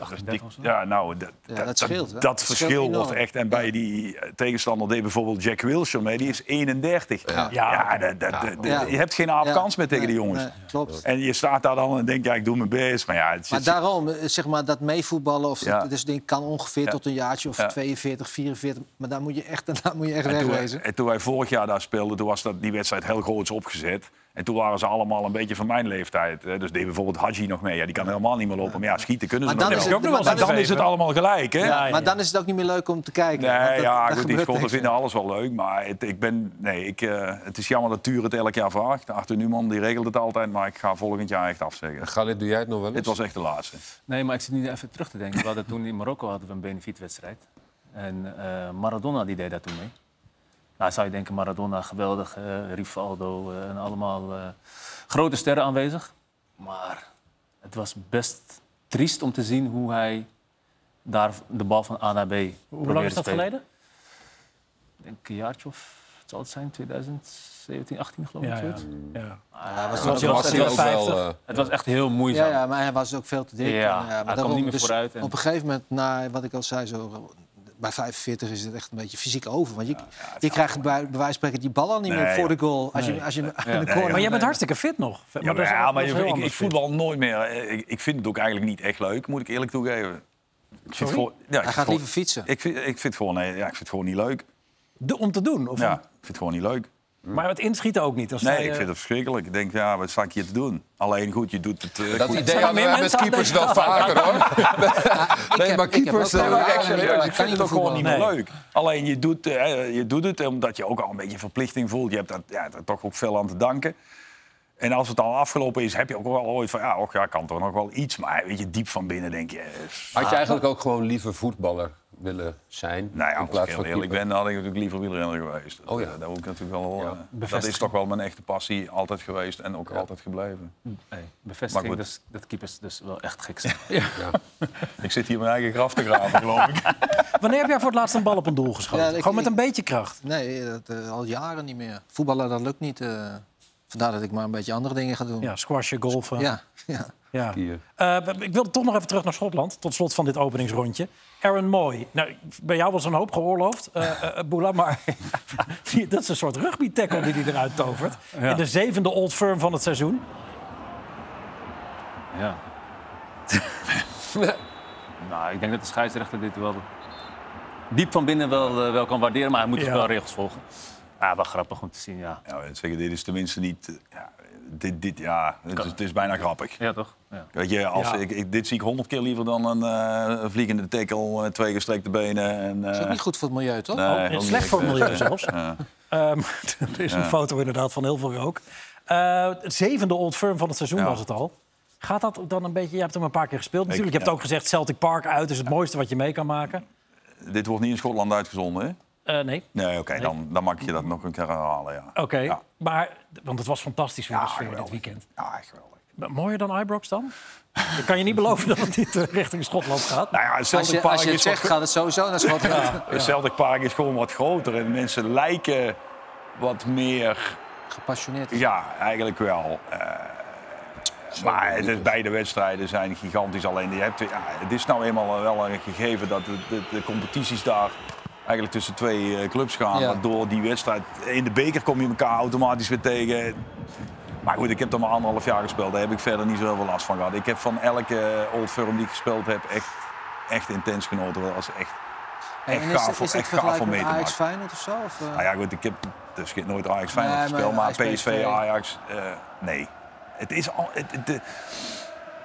[SPEAKER 6] eh, dik- ja, nou, dat,
[SPEAKER 2] dat scheelt, hè?
[SPEAKER 6] dat,
[SPEAKER 2] Dat scheelt
[SPEAKER 6] verschil wordt
[SPEAKER 2] enorm.
[SPEAKER 6] echt... En bij die eh, tegenstander deed bijvoorbeeld Jack Wilson mee. Die is 31. Ja, dat, dat, dat-
[SPEAKER 2] Ja.
[SPEAKER 6] je hebt geen aap
[SPEAKER 2] Ja.
[SPEAKER 6] kans meer tegen die
[SPEAKER 2] Nee,
[SPEAKER 6] jongens.
[SPEAKER 2] nee, klopt.
[SPEAKER 6] En je staat daar dan en denkt, ja, ik doe mijn best. Maar ja, het
[SPEAKER 2] Maar
[SPEAKER 6] zit-
[SPEAKER 2] daarom, eh, zeg maar, dat meevoetballen of
[SPEAKER 6] Ja.
[SPEAKER 2] dat, dus ding kan ongeveer tot een jaartje of
[SPEAKER 6] Ja.
[SPEAKER 2] 42, 44. Maar daar moet je echt, [LAUGHS] daar moet je echt
[SPEAKER 6] En toen, eh, wij,
[SPEAKER 2] wegwezen.
[SPEAKER 6] en toen wij vorig jaar daar speelden, toen was dat, die wedstrijd heel groots opgezet. En toen waren ze allemaal een beetje van mijn leeftijd. hè. Dus deed bijvoorbeeld Haji nog mee. Ja, die kan helemaal niet meer lopen. Maar ja, schieten kunnen ze
[SPEAKER 2] Maar
[SPEAKER 6] nog
[SPEAKER 2] dan
[SPEAKER 6] wel.
[SPEAKER 2] is het- maar
[SPEAKER 6] Maar
[SPEAKER 2] dan
[SPEAKER 6] dan
[SPEAKER 2] is
[SPEAKER 6] is het allemaal gelijk, hè?
[SPEAKER 1] Ja,
[SPEAKER 2] Maar dan is het ook niet meer leuk om te kijken. want
[SPEAKER 6] Nee,
[SPEAKER 2] dat-
[SPEAKER 6] ja,
[SPEAKER 2] daar
[SPEAKER 6] goed, die
[SPEAKER 2] gebeurt
[SPEAKER 6] schotten
[SPEAKER 2] niks.
[SPEAKER 6] vinden alles wel leuk. Maar het, ik ben, nee, ik, eh, het is jammer dat Tuur het elk jaar vraagt. Arthur Newman die regelt het altijd, maar ik ga volgend jaar echt afzeggen.
[SPEAKER 3] Galit, doe jij het nog wel eens?
[SPEAKER 6] Dit was echt de laatste.
[SPEAKER 4] Nee, maar ik zit nu even terug te denken. We hadden toen in Marokko hadden we een benefietwedstrijd. En eh, Maradona die deed daar toen mee. Nou, zou je denken, Maradona, geweldig, eh, Rivaldo eh, en allemaal eh, grote sterren aanwezig. Maar het was best triest om te zien hoe hij daar de bal van A naar B
[SPEAKER 1] Hoe lang is dat geleden?
[SPEAKER 4] Ik denk een jaartje of, het zal het zijn, 2017, 18 geloof ik.
[SPEAKER 1] Ja, ja.
[SPEAKER 4] zoiets.
[SPEAKER 1] ja.
[SPEAKER 2] Ja, was
[SPEAKER 4] was
[SPEAKER 2] ook-
[SPEAKER 4] hij
[SPEAKER 3] was hij ook
[SPEAKER 1] 50.
[SPEAKER 3] wel... eh,
[SPEAKER 4] Het was echt heel moeizaam.
[SPEAKER 2] ja, ja, maar hij was ook veel te dik.
[SPEAKER 4] Ja,
[SPEAKER 2] En, eh,
[SPEAKER 4] hij kwam
[SPEAKER 2] daarom, dus
[SPEAKER 4] niet meer vooruit en-
[SPEAKER 2] Op een gegeven moment, na wat ik al zei, zo, bij 45 is het echt een beetje fysiek over. Want je, je krijgt bij, bij wijze van spreken die bal al niet meer
[SPEAKER 6] Nee,
[SPEAKER 2] voor de
[SPEAKER 6] joh.
[SPEAKER 2] goal. Als je, als je hem aan de corner...
[SPEAKER 1] Maar jij bent hartstikke fit nog.
[SPEAKER 6] Ja,
[SPEAKER 1] dat
[SPEAKER 6] maar,
[SPEAKER 1] is-
[SPEAKER 6] ja,
[SPEAKER 1] dat
[SPEAKER 6] maar
[SPEAKER 1] is
[SPEAKER 6] je-
[SPEAKER 1] heel
[SPEAKER 6] ik, ik
[SPEAKER 1] anders fit.
[SPEAKER 6] voetbal nooit meer. eh, Ik, ik vind het ook eigenlijk niet echt leuk, moet ik eerlijk toegeven. Ik vind het gewoon, ja, ik
[SPEAKER 2] Hij
[SPEAKER 6] vind het
[SPEAKER 2] gaat
[SPEAKER 6] gewoon-
[SPEAKER 2] liever fietsen.
[SPEAKER 6] Ik vind, ik vind het gewoon, nee, ja, ik vind het gewoon niet leuk.
[SPEAKER 1] De- Om te doen? Of
[SPEAKER 6] Ja, ik vind het gewoon niet leuk.
[SPEAKER 1] Maar het inschieten ook niet. Als
[SPEAKER 6] Nee,
[SPEAKER 1] hij,
[SPEAKER 6] ik
[SPEAKER 1] eh,
[SPEAKER 6] vind het verschrikkelijk. Ik denk, ja, wat sta ik hier te doen? Alleen goed, je doet het eh,
[SPEAKER 3] Dat
[SPEAKER 6] goed.
[SPEAKER 3] idee
[SPEAKER 1] maar
[SPEAKER 3] hadden
[SPEAKER 1] meer
[SPEAKER 3] wij met
[SPEAKER 1] mensen aan
[SPEAKER 3] keepers
[SPEAKER 1] deze
[SPEAKER 3] wel vaker,
[SPEAKER 6] [LAUGHS]
[SPEAKER 3] hoor. Nee,
[SPEAKER 2] heb-
[SPEAKER 3] maar
[SPEAKER 2] ik heb
[SPEAKER 3] keepers...
[SPEAKER 2] ook wel-
[SPEAKER 3] eh,
[SPEAKER 2] Ja,
[SPEAKER 6] Nee, maar echt
[SPEAKER 2] ja,
[SPEAKER 6] serieus,
[SPEAKER 2] kan
[SPEAKER 6] ik vind
[SPEAKER 2] niet
[SPEAKER 6] het ook gewoon niet
[SPEAKER 2] voetballen.
[SPEAKER 6] meer leuk. Alleen je doet, eh, je doet het omdat je ook al een beetje verplichting voelt. Je hebt dat, ja, daar toch ook veel aan te danken. En als het al afgelopen is, heb je ook wel ooit van... ja, och, ja kan toch nog wel iets. Maar weet je, diep van binnen denk je... eh,
[SPEAKER 3] Had je eigenlijk ook gewoon liever voetballer willen zijn?
[SPEAKER 6] Nou ja,
[SPEAKER 3] in
[SPEAKER 6] als ik
[SPEAKER 3] plaats
[SPEAKER 6] heel
[SPEAKER 3] van
[SPEAKER 6] eerlijk
[SPEAKER 3] keeper?
[SPEAKER 6] ben, dan had ik natuurlijk liever wielrenner geweest. Dat,
[SPEAKER 3] Oh ja.
[SPEAKER 6] eh, dat, moet ik natuurlijk wel, eh, dat is
[SPEAKER 4] bevestiging.
[SPEAKER 6] toch wel mijn echte passie altijd geweest en ook altijd gebleven.
[SPEAKER 4] Nee,
[SPEAKER 6] Maar
[SPEAKER 4] bevestiging
[SPEAKER 6] goed.
[SPEAKER 4] dus, dat keepers dus wel echt gek zijn.
[SPEAKER 6] Ik zit hier mijn eigen graf te graven, geloof
[SPEAKER 1] [LAUGHS]
[SPEAKER 6] ik.
[SPEAKER 1] Wanneer heb jij voor het laatst een bal op een doel geschoten?
[SPEAKER 2] Ja, ik-
[SPEAKER 1] Gewoon met
[SPEAKER 2] ik-
[SPEAKER 1] een beetje kracht.
[SPEAKER 2] Nee, dat, eh, al jaren niet meer. Voetballen, dat lukt niet. eh. vandaar dat ik maar een beetje andere dingen ga doen.
[SPEAKER 1] Ja, squashen, golfen.
[SPEAKER 2] ja. ja.
[SPEAKER 1] Ja.
[SPEAKER 3] Hier.
[SPEAKER 1] Eh, we- ik wil toch nog even terug naar Schotland, tot slot van dit openingsrondje. Aaron Moy, nou, bij jou was een hoop geoorloofd, eh eh, Boela, maar [LAUGHS] die- dat is een soort rugby-tackle die hij eruit tovert. In de zevende Old Firm van het seizoen.
[SPEAKER 3] [LAUGHS]
[SPEAKER 4] Ja. nou, ik denk dat de scheidsrechter dit wel diep van binnen wel, eh, wel kan waarderen, maar hij moet de
[SPEAKER 1] Ja.
[SPEAKER 4] spelregels volgen. Ja, wel grappig om te zien, ja.
[SPEAKER 6] Ja, maar zeker, dit is tenminste niet... eh, Ja, dit, dit, ja, het, is, het is bijna grappig.
[SPEAKER 4] Ja, toch? Ja.
[SPEAKER 6] Weet je, als
[SPEAKER 1] Ja.
[SPEAKER 6] ik, ik- dit zie ik honderd keer liever dan een eh, vliegende tackle, eh, twee gestrekte benen. En,
[SPEAKER 2] Dat is
[SPEAKER 6] eh,
[SPEAKER 2] ook niet goed voor het milieu, toch?
[SPEAKER 6] nee,
[SPEAKER 1] Oh,
[SPEAKER 6] ook
[SPEAKER 1] slecht
[SPEAKER 6] niet.
[SPEAKER 1] voor het milieu
[SPEAKER 6] Eh,
[SPEAKER 1] zelfs.
[SPEAKER 6] ja.
[SPEAKER 1] Ehm, [LAUGHS] er is een foto inderdaad van heel veel rook. Eh, het zevende Old Firm van het seizoen
[SPEAKER 6] Ja.
[SPEAKER 1] was het al. Gaat dat dan een beetje... Je hebt hem een paar keer gespeeld natuurlijk. je hebt
[SPEAKER 6] ja.
[SPEAKER 1] ook gezegd Celtic Park uit is het mooiste wat je mee kan maken.
[SPEAKER 6] Dit wordt niet in Schotland uitgezonden, hè?
[SPEAKER 1] Eh, nee,
[SPEAKER 6] Nee, oké, dan, dan mag je dat nog een keer herhalen, ja.
[SPEAKER 1] oké.
[SPEAKER 6] Ja.
[SPEAKER 1] Maar, want het was fantastisch weer de sfeer dit
[SPEAKER 6] geweldig.
[SPEAKER 1] weekend.
[SPEAKER 6] Ja, geweldig.
[SPEAKER 1] Maar Mooier dan Ibrox dan? Ik kan je niet beloven dat het niet eh, richting Schotland gaat.
[SPEAKER 6] Nou ja, Celtic
[SPEAKER 2] Als je,
[SPEAKER 6] Park
[SPEAKER 2] als je het
[SPEAKER 6] is wat
[SPEAKER 2] zegt, gaat het sowieso naar Schotland.
[SPEAKER 6] [LAUGHS] Het Celtic Park is gewoon wat groter en mensen lijken wat meer.
[SPEAKER 2] Gepassioneerd.
[SPEAKER 6] Ja, eigenlijk wel. Eh, maar het is, beide wedstrijden zijn gigantisch. Alleen je hebt, ja, het is nou eenmaal wel een gegeven dat de, de, de competities daar eigenlijk tussen twee eh, clubs gaan.
[SPEAKER 2] Ja.
[SPEAKER 6] Waardoor die wedstrijd in de beker kom je elkaar automatisch weer tegen. Maar goed, ik heb er maar anderhalf jaar gespeeld. Daar heb ik verder niet zo heel veel last van gehad. Ik heb van elke eh, Old Firm die ik gespeeld heb echt, echt intens genoten. Dat was echt
[SPEAKER 2] Hey,
[SPEAKER 6] echt
[SPEAKER 2] en is
[SPEAKER 6] gaaf
[SPEAKER 2] dit,
[SPEAKER 6] om-
[SPEAKER 2] is dit
[SPEAKER 6] echt gaaf om
[SPEAKER 2] vergelijkbaar
[SPEAKER 6] mee
[SPEAKER 2] met
[SPEAKER 6] te
[SPEAKER 2] Ajax
[SPEAKER 6] maken.
[SPEAKER 2] Feyenoord of zo? Of, eh?
[SPEAKER 6] Nou ja, goed, ik heb dus ik heb nooit Ajax Feyenoord
[SPEAKER 2] Nee, maar
[SPEAKER 6] gespeeld, maar
[SPEAKER 2] Ajax,
[SPEAKER 6] PSV,
[SPEAKER 2] PSV.
[SPEAKER 6] Ajax, eh, nee. Het is al... eh, Het, het- de-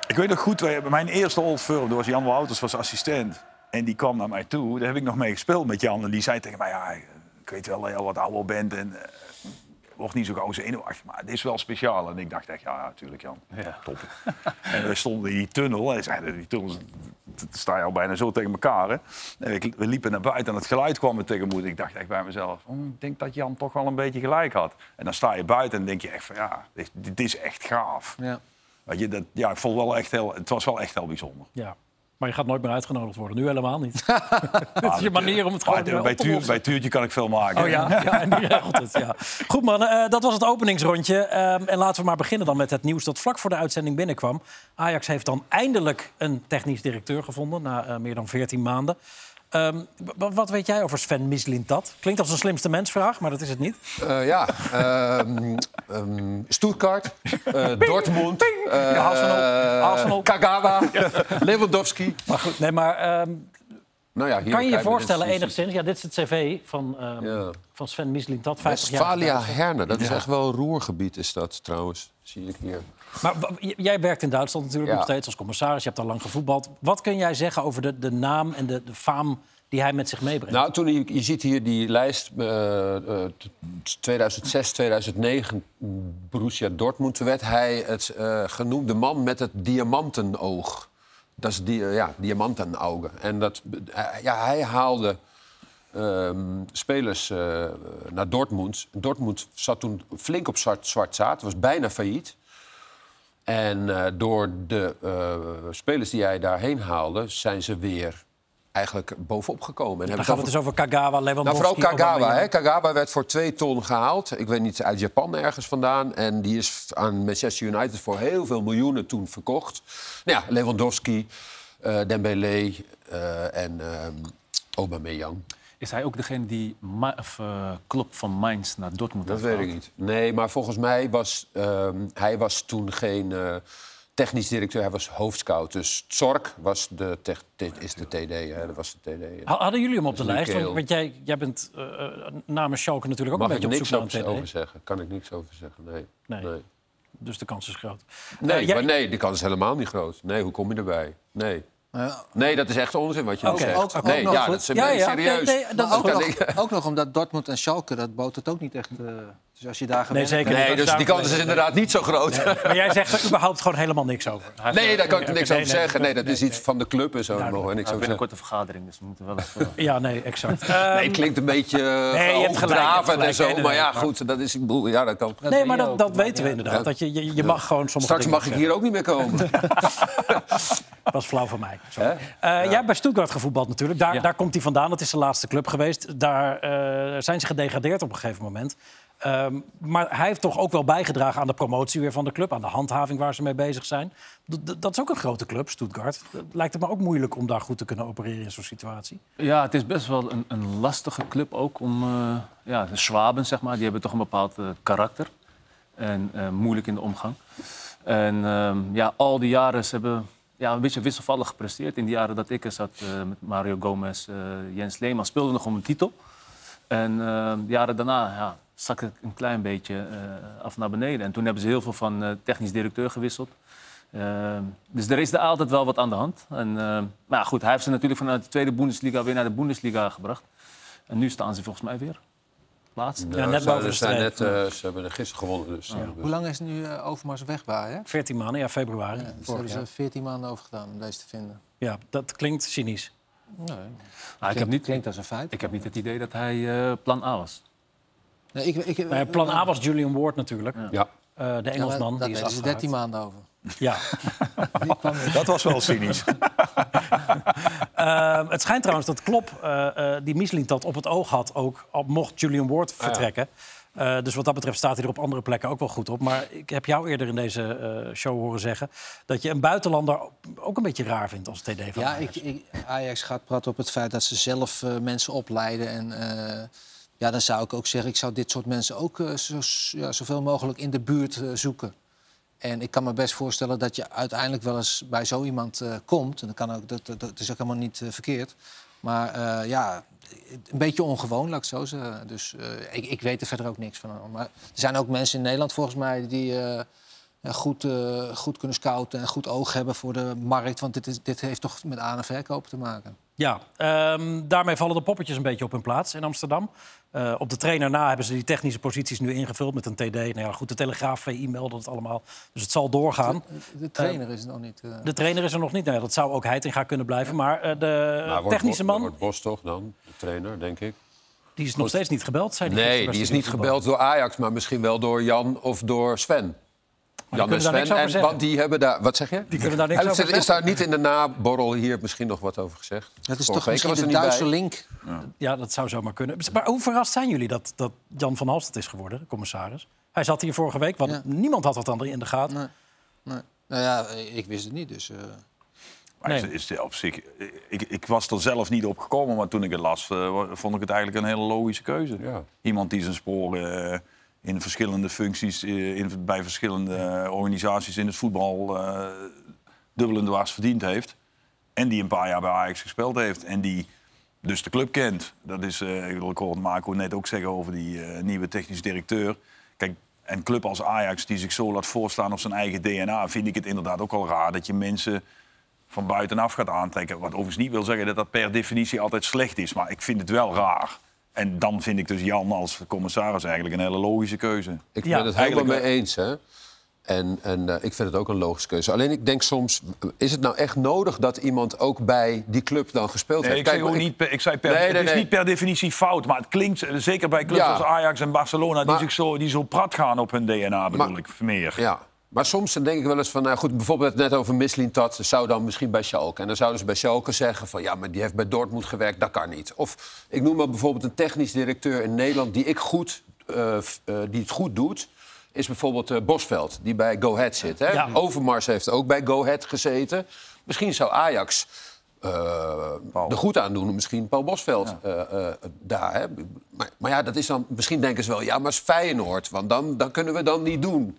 [SPEAKER 6] ik weet nog goed, wij- bij mijn eerste Old Firm, daar was Jan Wouters was assistent. En die kwam naar mij toe. Daar heb ik nog mee gespeeld met Jan. En die zei tegen mij, ja, ik weet wel dat je al wat ouder bent en eh, word niet zo gauw zenuwachtig. Maar dit is wel speciaal. En ik dacht echt, ja, natuurlijk Jan.
[SPEAKER 4] Ja.
[SPEAKER 6] Top. en we stonden in die tunnel. En zeiden, die tunnels t- t- sta je al bijna zo tegen elkaar. Hè? En ik- we liepen naar buiten en het geluid kwam me tegemoet. Ik dacht echt bij mezelf, "Hm, ik denk dat Jan toch wel een beetje gelijk had. En dan sta je buiten en denk je echt van, ja, dit, dit is echt gaaf.
[SPEAKER 2] Ja.
[SPEAKER 6] Weet je, dat, ja, ik vond wel echt heel, het was wel echt heel bijzonder.
[SPEAKER 1] Ja. Maar je gaat nooit meer uitgenodigd worden. Nu helemaal
[SPEAKER 6] [LAUGHS]
[SPEAKER 1] niet. Dit is je manier om het
[SPEAKER 6] Maar
[SPEAKER 1] gewoon eh,
[SPEAKER 6] bij,
[SPEAKER 1] op te
[SPEAKER 6] tuur,
[SPEAKER 1] lossen.
[SPEAKER 6] bij Tuurtje kan ik veel maken.
[SPEAKER 1] Oh
[SPEAKER 6] [LAUGHS]
[SPEAKER 1] ja, ja en die regelt het. Ja. Goed man, eh, dat was het openingsrondje. Ehm, en laten we maar beginnen dan met het nieuws dat vlak voor de uitzending binnenkwam. Ajax heeft dan eindelijk een technisch directeur gevonden na eh, meer dan 14 maanden. Ehm, w- w- wat weet jij over Sven Mislintat? Klinkt als een slimste mensvraag, maar dat is het niet.
[SPEAKER 3] Eh, ja, ehm, ehm, Stuttgart, eh, Dortmund, eh,
[SPEAKER 6] Ja, Arsenal, Arsenal.
[SPEAKER 3] Kagawa, Lewandowski.
[SPEAKER 1] Maar goed, nee, maar ehm,
[SPEAKER 3] Nou
[SPEAKER 1] kan
[SPEAKER 3] ja, hier
[SPEAKER 1] je je
[SPEAKER 3] bekijken we
[SPEAKER 1] voorstellen
[SPEAKER 3] dit.
[SPEAKER 1] enigszins... Ja, dit is het cv van, ehm,
[SPEAKER 3] Ja.
[SPEAKER 1] van Sven Mislintat, 50 jaar.
[SPEAKER 3] Westfalia Herne, dat is echt wel roergebied is dat trouwens, zie ik hier.
[SPEAKER 1] Maar w- j- jij werkt in Duitsland natuurlijk
[SPEAKER 3] Ja.
[SPEAKER 1] nog steeds als commissaris. Je hebt al lang gevoetbald. Wat kun jij zeggen over de, de naam en de, de faam die hij met zich meebrengt?
[SPEAKER 3] Nou, toen je, je ziet hier die lijst eh, eh, t- 2006, 2009, Borussia Dortmund. Toen werd hij het eh, genoemde man met het diamantenoog. Dat is die, eh, ja, diamantenaugen. En dat, eh, ja, hij haalde ehm, spelers eh, naar Dortmund. Dortmund zat toen flink op zwart, zwart zaad, was bijna failliet. En eh, door de eh, spelers die hij daarheen haalde, zijn ze weer eigenlijk bovenop gekomen. En
[SPEAKER 1] Dan
[SPEAKER 3] hebben
[SPEAKER 1] gaan we het dus over Kagawa,
[SPEAKER 3] nou,
[SPEAKER 1] Lewandowski...
[SPEAKER 3] vooral Kagawa.
[SPEAKER 1] Aubameyang.
[SPEAKER 3] Hè? Kagawa werd voor twee ton gehaald. Ik weet niet, uit Japan ergens vandaan. En die is aan Manchester United voor heel veel miljoenen toen verkocht. Nou ja, Lewandowski, eh, Dembele eh, en ehm Aubameyang.
[SPEAKER 4] Is hij ook degene die Ma- of, eh, Klopp van Mainz naar Dortmund
[SPEAKER 3] Dat
[SPEAKER 4] heeft
[SPEAKER 3] weet ik
[SPEAKER 4] gehaald?
[SPEAKER 3] niet. Nee, maar volgens mij was ehm, hij was toen geen eh, technisch directeur. Hij was hoofdscout. Dus Zork was de tech- dit is de TD. Hè? Dat was de TD. ja.
[SPEAKER 1] Ha- Hadden jullie hem op de
[SPEAKER 3] is
[SPEAKER 1] lijst? Want,
[SPEAKER 3] Mikkel.
[SPEAKER 1] want jij, jij bent eh, eh, namens Schalke natuurlijk ook
[SPEAKER 3] Mag
[SPEAKER 1] een
[SPEAKER 3] ik
[SPEAKER 1] beetje op
[SPEAKER 3] niks
[SPEAKER 1] zoek naar een
[SPEAKER 3] over
[SPEAKER 1] TD.
[SPEAKER 3] zeggen? Kan ik niks over zeggen? Nee.
[SPEAKER 1] Nee. Dus de kans is groot.
[SPEAKER 3] Nee,
[SPEAKER 1] Eh, jij-
[SPEAKER 3] maar nee, de kans is helemaal niet groot. Nee, hoe kom je erbij? Nee.
[SPEAKER 2] Ja.
[SPEAKER 3] Nee, dat is echt onzin wat je nu
[SPEAKER 1] Oké,
[SPEAKER 3] zegt.
[SPEAKER 2] ook- ook
[SPEAKER 3] nee,
[SPEAKER 2] nog
[SPEAKER 3] ja,
[SPEAKER 2] goed.
[SPEAKER 3] dat is
[SPEAKER 1] Ja,
[SPEAKER 3] nee,
[SPEAKER 1] ja,
[SPEAKER 3] serieus.
[SPEAKER 1] nee, nee, dat
[SPEAKER 3] Ook
[SPEAKER 1] is goed.
[SPEAKER 2] Ook
[SPEAKER 3] dat
[SPEAKER 2] nog,
[SPEAKER 3] ik-
[SPEAKER 6] [LAUGHS]
[SPEAKER 2] ook nog omdat Dortmund en Schalke, dat boot het ook niet echt. eh, dus als je daar
[SPEAKER 1] Nee,
[SPEAKER 2] gewend
[SPEAKER 1] zeker.
[SPEAKER 3] nee, dus die kans is inderdaad niet zo groot.
[SPEAKER 1] Maar jij zegt er überhaupt gewoon helemaal niks
[SPEAKER 3] [LAUGHS]
[SPEAKER 1] over.
[SPEAKER 4] Hij heeft,
[SPEAKER 3] Nee,
[SPEAKER 4] eh,
[SPEAKER 3] daar kan ik
[SPEAKER 1] Oké,
[SPEAKER 3] niks
[SPEAKER 1] nee,
[SPEAKER 3] over
[SPEAKER 1] nee,
[SPEAKER 3] zeggen. Nee, dat is iets van de club en zo. Daar
[SPEAKER 1] Duidelijk.
[SPEAKER 3] mogen we niks
[SPEAKER 4] hij heeft
[SPEAKER 3] over zeggen.
[SPEAKER 4] binnenkort een vergadering, dus we moeten wel eens... eh,
[SPEAKER 1] Ja, nee, exact. Eh,
[SPEAKER 3] Nee, het klinkt een beetje
[SPEAKER 1] je hebt
[SPEAKER 3] eh,
[SPEAKER 1] gelijk, je hebt
[SPEAKER 3] hoogdravend
[SPEAKER 1] gelijk.
[SPEAKER 3] en
[SPEAKER 1] Nee,
[SPEAKER 3] zo.
[SPEAKER 1] nee,
[SPEAKER 3] Maar
[SPEAKER 1] nee,
[SPEAKER 3] ja,
[SPEAKER 1] maar-
[SPEAKER 3] goed, dat is... ik bedoel, Ja, dat kan.
[SPEAKER 1] nee,
[SPEAKER 2] ben
[SPEAKER 1] maar
[SPEAKER 2] je
[SPEAKER 1] dat,
[SPEAKER 2] ook,
[SPEAKER 1] dat weten we inderdaad. Dat je, je, je mag gewoon sommige
[SPEAKER 3] Straks
[SPEAKER 1] dingen
[SPEAKER 3] mag ik hier ook niet meer
[SPEAKER 1] [LAUGHS]
[SPEAKER 3] komen.
[SPEAKER 1] Dat was flauw van mij. Sorry.
[SPEAKER 3] Hè?
[SPEAKER 1] Eh, Jij hebt bij Stuttgart gevoetbald natuurlijk. Daar,
[SPEAKER 4] Ja.
[SPEAKER 1] daar komt hij vandaan. Dat is zijn laatste club geweest. Daar eh, zijn ze gedegradeerd op een gegeven moment. Ehm, maar hij heeft toch ook wel bijgedragen aan de promotie weer van de club. Aan de handhaving waar ze mee bezig zijn. D- d- dat is ook een grote club, Stuttgart. Het Lijkt het me ook moeilijk om daar goed te kunnen opereren in zo'n situatie.
[SPEAKER 4] [LAUGHS] Ja, het is best wel een, een lastige club ook om... eh, ja, de Schwaben, zeg maar, die hebben toch een bepaald eh, karakter. En eh, moeilijk in de omgang. En ehm, ja, al die jaren, ze hebben ja, een beetje wisselvallig gepresteerd. In die jaren dat ik er zat eh, met Mario Gomez, eh, Jens Leeman, speelden nog om een titel. En eh, jaren daarna ja, zakte het een klein beetje eh, af naar beneden. En toen hebben ze heel veel van eh, technisch directeur gewisseld. Eh, dus er is daar altijd wel wat aan de hand. En, eh, maar ja, goed, hij heeft ze natuurlijk vanuit de tweede Bundesliga weer naar de Bundesliga gebracht. En nu staan ze volgens mij weer Ah, laatst.
[SPEAKER 1] Ja, net
[SPEAKER 3] ze
[SPEAKER 1] boven de
[SPEAKER 3] zijn
[SPEAKER 1] streep.
[SPEAKER 3] net, eh, Ze hebben er gisteren gewonnen. Dus,
[SPEAKER 2] Hoe lang is nu eh, Overmars weg bij? Hè?
[SPEAKER 1] 14 maanden, ja, februari.
[SPEAKER 2] Ja, dus daar
[SPEAKER 1] vorig
[SPEAKER 2] hebben
[SPEAKER 1] jaar.
[SPEAKER 2] ze 14 maanden over gedaan om deze te vinden.
[SPEAKER 1] ja, dat klinkt cynisch.
[SPEAKER 2] Nee,
[SPEAKER 4] Ah, ik, heb niet,
[SPEAKER 2] klinkt als een feit.
[SPEAKER 4] ik heb niet het idee dat hij eh, plan A was.
[SPEAKER 2] Nee, ik, ik,
[SPEAKER 1] Nou ja, plan A was Julian Ward natuurlijk.
[SPEAKER 3] Ja.
[SPEAKER 1] Eh, de
[SPEAKER 2] Ja, maar
[SPEAKER 1] Engelsman,
[SPEAKER 2] daar
[SPEAKER 1] die is
[SPEAKER 2] deden ze
[SPEAKER 1] afgehaakt.
[SPEAKER 2] 13 maanden over.
[SPEAKER 1] Ja.
[SPEAKER 6] [LAUGHS] Dat was wel cynisch.
[SPEAKER 1] Ehm, het schijnt trouwens dat Klopp eh, eh, die Michelin dat op het oog had, ook al mocht Julian
[SPEAKER 3] Ah,
[SPEAKER 1] Ward vertrekken. Eh, dus wat dat betreft staat hij er op andere plekken ook wel goed op. Maar ik heb jou eerder in deze eh, show horen zeggen dat je een buitenlander ook een beetje raar vindt als TD van
[SPEAKER 2] Ja,
[SPEAKER 1] Ajax.
[SPEAKER 2] ik, ik, Ajax gaat praten op het feit dat ze zelf eh, mensen opleiden. En eh, ja, dan zou ik ook zeggen, ik zou dit soort mensen ook eh, zo, ja, zoveel mogelijk in de buurt eh, zoeken. En ik kan me best voorstellen dat je uiteindelijk wel eens bij zo iemand eh, komt. En dat, kan ook, dat, dat, dat is ook helemaal niet eh, verkeerd. Maar eh, ja, een beetje ongewoon, laat ik het zo zeggen. Dus eh, ik, ik weet er verder ook niks van. Maar er zijn ook mensen in Nederland volgens mij die... eh, ja, goed, eh, goed kunnen scouten en goed oog hebben voor de markt. Want dit, is, dit heeft toch met aan- en verkoop te maken.
[SPEAKER 1] Ja, ehm, daarmee vallen de poppetjes een beetje op hun plaats in Amsterdam. Eh, op de trainer na hebben ze die technische posities nu ingevuld met een TD. Nou ja, goed, de Telegraaf, VI melden het allemaal. Dus het zal doorgaan.
[SPEAKER 2] De trainer is het nog niet. eh.
[SPEAKER 1] De trainer is er nog niet. Nou ja, dat zou ook Heitinga kunnen blijven. Maar eh, de
[SPEAKER 3] Maar wordt
[SPEAKER 1] technische
[SPEAKER 3] Bos-
[SPEAKER 1] man,
[SPEAKER 3] Wordt Bos toch dan, de trainer, denk ik?
[SPEAKER 1] die is nog steeds niet gebeld, zei die
[SPEAKER 3] Nee,
[SPEAKER 1] gisteren
[SPEAKER 3] die
[SPEAKER 1] bij
[SPEAKER 3] is niet
[SPEAKER 1] Studio
[SPEAKER 3] gebeld door Ajax, maar misschien wel door Jan of door Sven. Jan en
[SPEAKER 1] kunnen daar niks
[SPEAKER 3] Sven,
[SPEAKER 1] over
[SPEAKER 3] en,
[SPEAKER 1] zeggen.
[SPEAKER 3] want die hebben daar... Wat zeg je? Die
[SPEAKER 1] kunnen daar niks over
[SPEAKER 3] Is daar niet in de naborrel hier misschien nog wat over gezegd?
[SPEAKER 2] Dat is
[SPEAKER 3] Vorige
[SPEAKER 2] toch
[SPEAKER 3] week
[SPEAKER 2] misschien
[SPEAKER 3] was er
[SPEAKER 2] de
[SPEAKER 3] niet bij.
[SPEAKER 2] Duitse link.
[SPEAKER 1] Voetbal. Ja, dat zou zomaar kunnen. Maar hoe verrast zijn jullie dat, dat Jan van Halstad is geworden, commissaris? Hij zat hier vorige week, want
[SPEAKER 2] Ja.
[SPEAKER 1] niemand had dat dan in de gaten.
[SPEAKER 2] Nee. Nee. Nou ja, eh, ik wist het niet, dus... eh,
[SPEAKER 6] Maar
[SPEAKER 1] Nee.
[SPEAKER 6] is, is de op zich, ik, ik was er zelf niet op gekomen, maar toen ik het las, eh, wa- vond ik het eigenlijk een hele logische keuze.
[SPEAKER 3] Ja.
[SPEAKER 6] Iemand die zijn sporen eh, in verschillende functies, eh, in, bij verschillende eh, organisaties in het voetbal eh dubbel en dwars verdiend heeft. En die een paar jaar bij Ajax gespeeld heeft. En die dus de club kent. Dat is, eh, ik wil- ik hoorde Marco net ook zeggen over die eh, nieuwe technisch directeur. Kijk, een club als Ajax die zich zo laat voorstaan op zijn eigen DNA... vind ik het inderdaad ook al raar dat je mensen van buitenaf gaat aantrekken. Wat overigens niet wil zeggen dat dat per definitie altijd slecht is. Maar ik vind het wel raar. En dan vind ik dus Jan als commissaris eigenlijk een hele logische keuze.
[SPEAKER 3] Ik
[SPEAKER 1] Ja,
[SPEAKER 3] ben het helemaal
[SPEAKER 6] eigenlijk eh,
[SPEAKER 3] mee eens, hè. En, en eh, ik vind het ook een logische keuze. Alleen ik denk soms, is het nou echt nodig dat iemand ook bij die club dan gespeeld
[SPEAKER 6] Nee,
[SPEAKER 3] heeft?
[SPEAKER 6] ik, zeg
[SPEAKER 3] maar
[SPEAKER 6] ook niet per, ik zei per,
[SPEAKER 3] Nee,
[SPEAKER 6] het
[SPEAKER 3] nee,
[SPEAKER 6] is
[SPEAKER 3] nee.
[SPEAKER 6] niet per definitie fout, maar het klinkt eh, zeker bij clubs
[SPEAKER 3] Ja.
[SPEAKER 6] als Ajax en Barcelona
[SPEAKER 3] Maar-
[SPEAKER 6] die, zich zo, die zo prat gaan op hun DNA, bedoel
[SPEAKER 3] Maar-
[SPEAKER 6] ik meer.
[SPEAKER 3] Ja. Maar soms dan denk ik wel eens van, nou goed, bijvoorbeeld net over Mislintat zou dan misschien bij Schalke. En dan zouden ze bij Schalke zeggen van, ja, maar die heeft bij Dortmund gewerkt, dat kan niet. Of ik noem maar bijvoorbeeld een technisch directeur in Nederland die ik goed, eh, f- eh, die het goed doet, is bijvoorbeeld eh, Bosveld, die bij Go Ahead zit. Hè?
[SPEAKER 1] Ja.
[SPEAKER 3] Overmars heeft ook bij Go Ahead gezeten. Misschien zou Ajax eh er goed aan doen om misschien Paul Bosveld eh, eh, daar. Hè? Maar, maar ja, dat is dan, misschien denken ze wel, ja, maar is Feyenoord, want dan, dan kunnen we dan niet doen.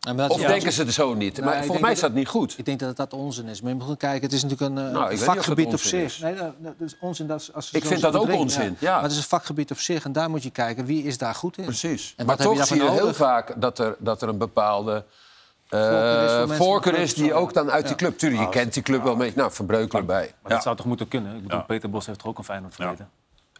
[SPEAKER 2] nou, maar dat
[SPEAKER 3] Of
[SPEAKER 2] is-
[SPEAKER 3] denken ze er zo niet?
[SPEAKER 2] ik
[SPEAKER 3] Maar
[SPEAKER 2] denk
[SPEAKER 3] volgens mij
[SPEAKER 2] dat-
[SPEAKER 3] is dat niet goed.
[SPEAKER 2] Ik denk dat dat onzin is. Maar je moet gewoon kijken, het is natuurlijk een eh,
[SPEAKER 3] Nou, ik weet niet of
[SPEAKER 2] vakgebied
[SPEAKER 3] dat
[SPEAKER 2] op
[SPEAKER 3] onzin
[SPEAKER 2] zich.
[SPEAKER 3] is.
[SPEAKER 2] Nee, nou, nou, dat is onzin. Dat is, als ze
[SPEAKER 3] Ik
[SPEAKER 2] zo
[SPEAKER 3] vind dat ook
[SPEAKER 2] bedenken,
[SPEAKER 3] onzin, ja.
[SPEAKER 2] Maar het is een vakgebied op zich en daar moet je kijken wie is daar goed in.
[SPEAKER 3] Precies.
[SPEAKER 2] En
[SPEAKER 3] maar
[SPEAKER 2] wat heb je
[SPEAKER 3] toch zie je
[SPEAKER 2] daarvan
[SPEAKER 3] heel
[SPEAKER 2] nodig?
[SPEAKER 3] vaak dat er, dat er een bepaalde eh,
[SPEAKER 2] Voorkeur is voor mensen
[SPEAKER 3] voorkeur
[SPEAKER 2] van
[SPEAKER 3] is
[SPEAKER 2] club,
[SPEAKER 3] die
[SPEAKER 2] zo,
[SPEAKER 3] ook dan uit die club. Tuurlijk, je kent die club wel een beetje. Nou, Van Breukelen bij.
[SPEAKER 4] Maar dat zou toch moeten kunnen? Ik bedoel, Peter Bos heeft toch ook een Feyenoord verleden?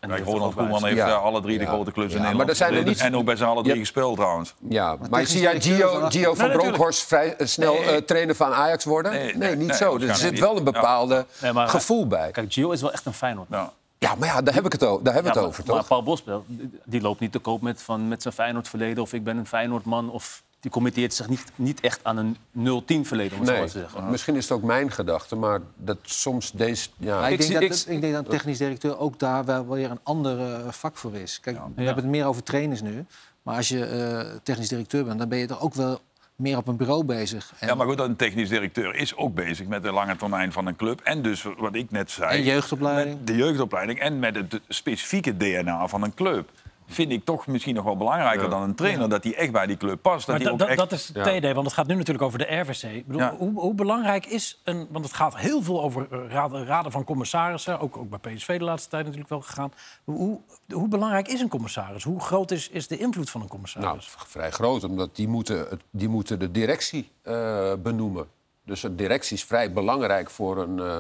[SPEAKER 4] En die
[SPEAKER 6] Kijk,
[SPEAKER 4] heeft toch
[SPEAKER 6] Ronald
[SPEAKER 4] ook bij
[SPEAKER 6] Koeman
[SPEAKER 4] Ajax-
[SPEAKER 6] heeft
[SPEAKER 3] Ja.
[SPEAKER 6] eh, alle drie de
[SPEAKER 3] Ja.
[SPEAKER 6] grote clubs
[SPEAKER 3] Ja,
[SPEAKER 6] in
[SPEAKER 3] maar
[SPEAKER 6] Nederland
[SPEAKER 3] er zijn er
[SPEAKER 6] verleden.
[SPEAKER 3] niet-
[SPEAKER 6] En ook bij zijn alle drie
[SPEAKER 3] Ja.
[SPEAKER 6] gespeeld trouwens.
[SPEAKER 3] Ja, maar
[SPEAKER 2] technisch
[SPEAKER 3] zie jij
[SPEAKER 2] directeur is
[SPEAKER 3] Gio,
[SPEAKER 2] wel
[SPEAKER 3] Gio van
[SPEAKER 1] Nee, natuurlijk.
[SPEAKER 3] Bronkhorst vrij eh, snel eh, trainer van Ajax worden?
[SPEAKER 6] Nee,
[SPEAKER 3] Nee,
[SPEAKER 6] nee,
[SPEAKER 3] niet zo.
[SPEAKER 6] nee,
[SPEAKER 3] Dus Er
[SPEAKER 6] waarschijnlijk
[SPEAKER 3] zit
[SPEAKER 6] niet.
[SPEAKER 3] wel een bepaalde
[SPEAKER 4] Nee, maar-
[SPEAKER 3] gevoel bij.
[SPEAKER 4] Kijk, Gio is wel echt een Feyenoord.
[SPEAKER 6] Ja.
[SPEAKER 3] Ja, maar ja, daar, heb ik het o- daar hebben we
[SPEAKER 4] Ja,
[SPEAKER 3] het
[SPEAKER 4] maar,
[SPEAKER 3] over,
[SPEAKER 4] maar
[SPEAKER 3] toch?
[SPEAKER 4] Paul Bosbel, die- die loopt niet te koop met, van, met zijn Feyenoord verleden... of ik ben een Feyenoordman of... Die committeert zich niet, niet echt aan een 0-10 verleden, om het zo
[SPEAKER 3] Nee,
[SPEAKER 4] maar te zeggen.
[SPEAKER 3] misschien is het ook mijn gedachte, maar dat soms deze... Ja,
[SPEAKER 2] Maar ik,
[SPEAKER 4] Ik
[SPEAKER 2] denk
[SPEAKER 4] zie-
[SPEAKER 2] dat,
[SPEAKER 4] ik-
[SPEAKER 2] ik denk dat een technisch directeur ook daar wel weer een ander eh, vak voor is. Kijk, we
[SPEAKER 4] Ja.
[SPEAKER 2] hebben het meer over trainers nu. Maar als je eh, technisch directeur bent, dan ben je toch ook wel meer op een bureau bezig. En,
[SPEAKER 6] Ja, maar goed, een technisch directeur is ook bezig met de lange termijn van een club. En dus wat ik net zei.
[SPEAKER 2] En jeugdopleiding.
[SPEAKER 6] Met de jeugdopleiding en met het specifieke DNA van een club. Vind ik toch misschien nog wel belangrijker dan een trainer. Dat hij echt bij die club past. Dat
[SPEAKER 1] Maar
[SPEAKER 6] hij
[SPEAKER 1] dat-
[SPEAKER 6] ook
[SPEAKER 1] dat-
[SPEAKER 6] echt...
[SPEAKER 1] dat is het TD, want het gaat nu natuurlijk over de RVC. Ik bedoel,
[SPEAKER 6] Ja.
[SPEAKER 1] hoe, hoe belangrijk is een... Want het gaat heel veel over eh, raden, raden van commissarissen. Ook, ook bij PSV de laatste tijd natuurlijk wel gegaan. Hoe, hoe belangrijk is een commissaris? Hoe groot is, is de invloed van een
[SPEAKER 3] Nou,
[SPEAKER 1] commissaris?
[SPEAKER 3] v- vrij groot, omdat die moeten, het- die moeten de directie eh, benoemen. Dus een directie is vrij belangrijk voor een, eh,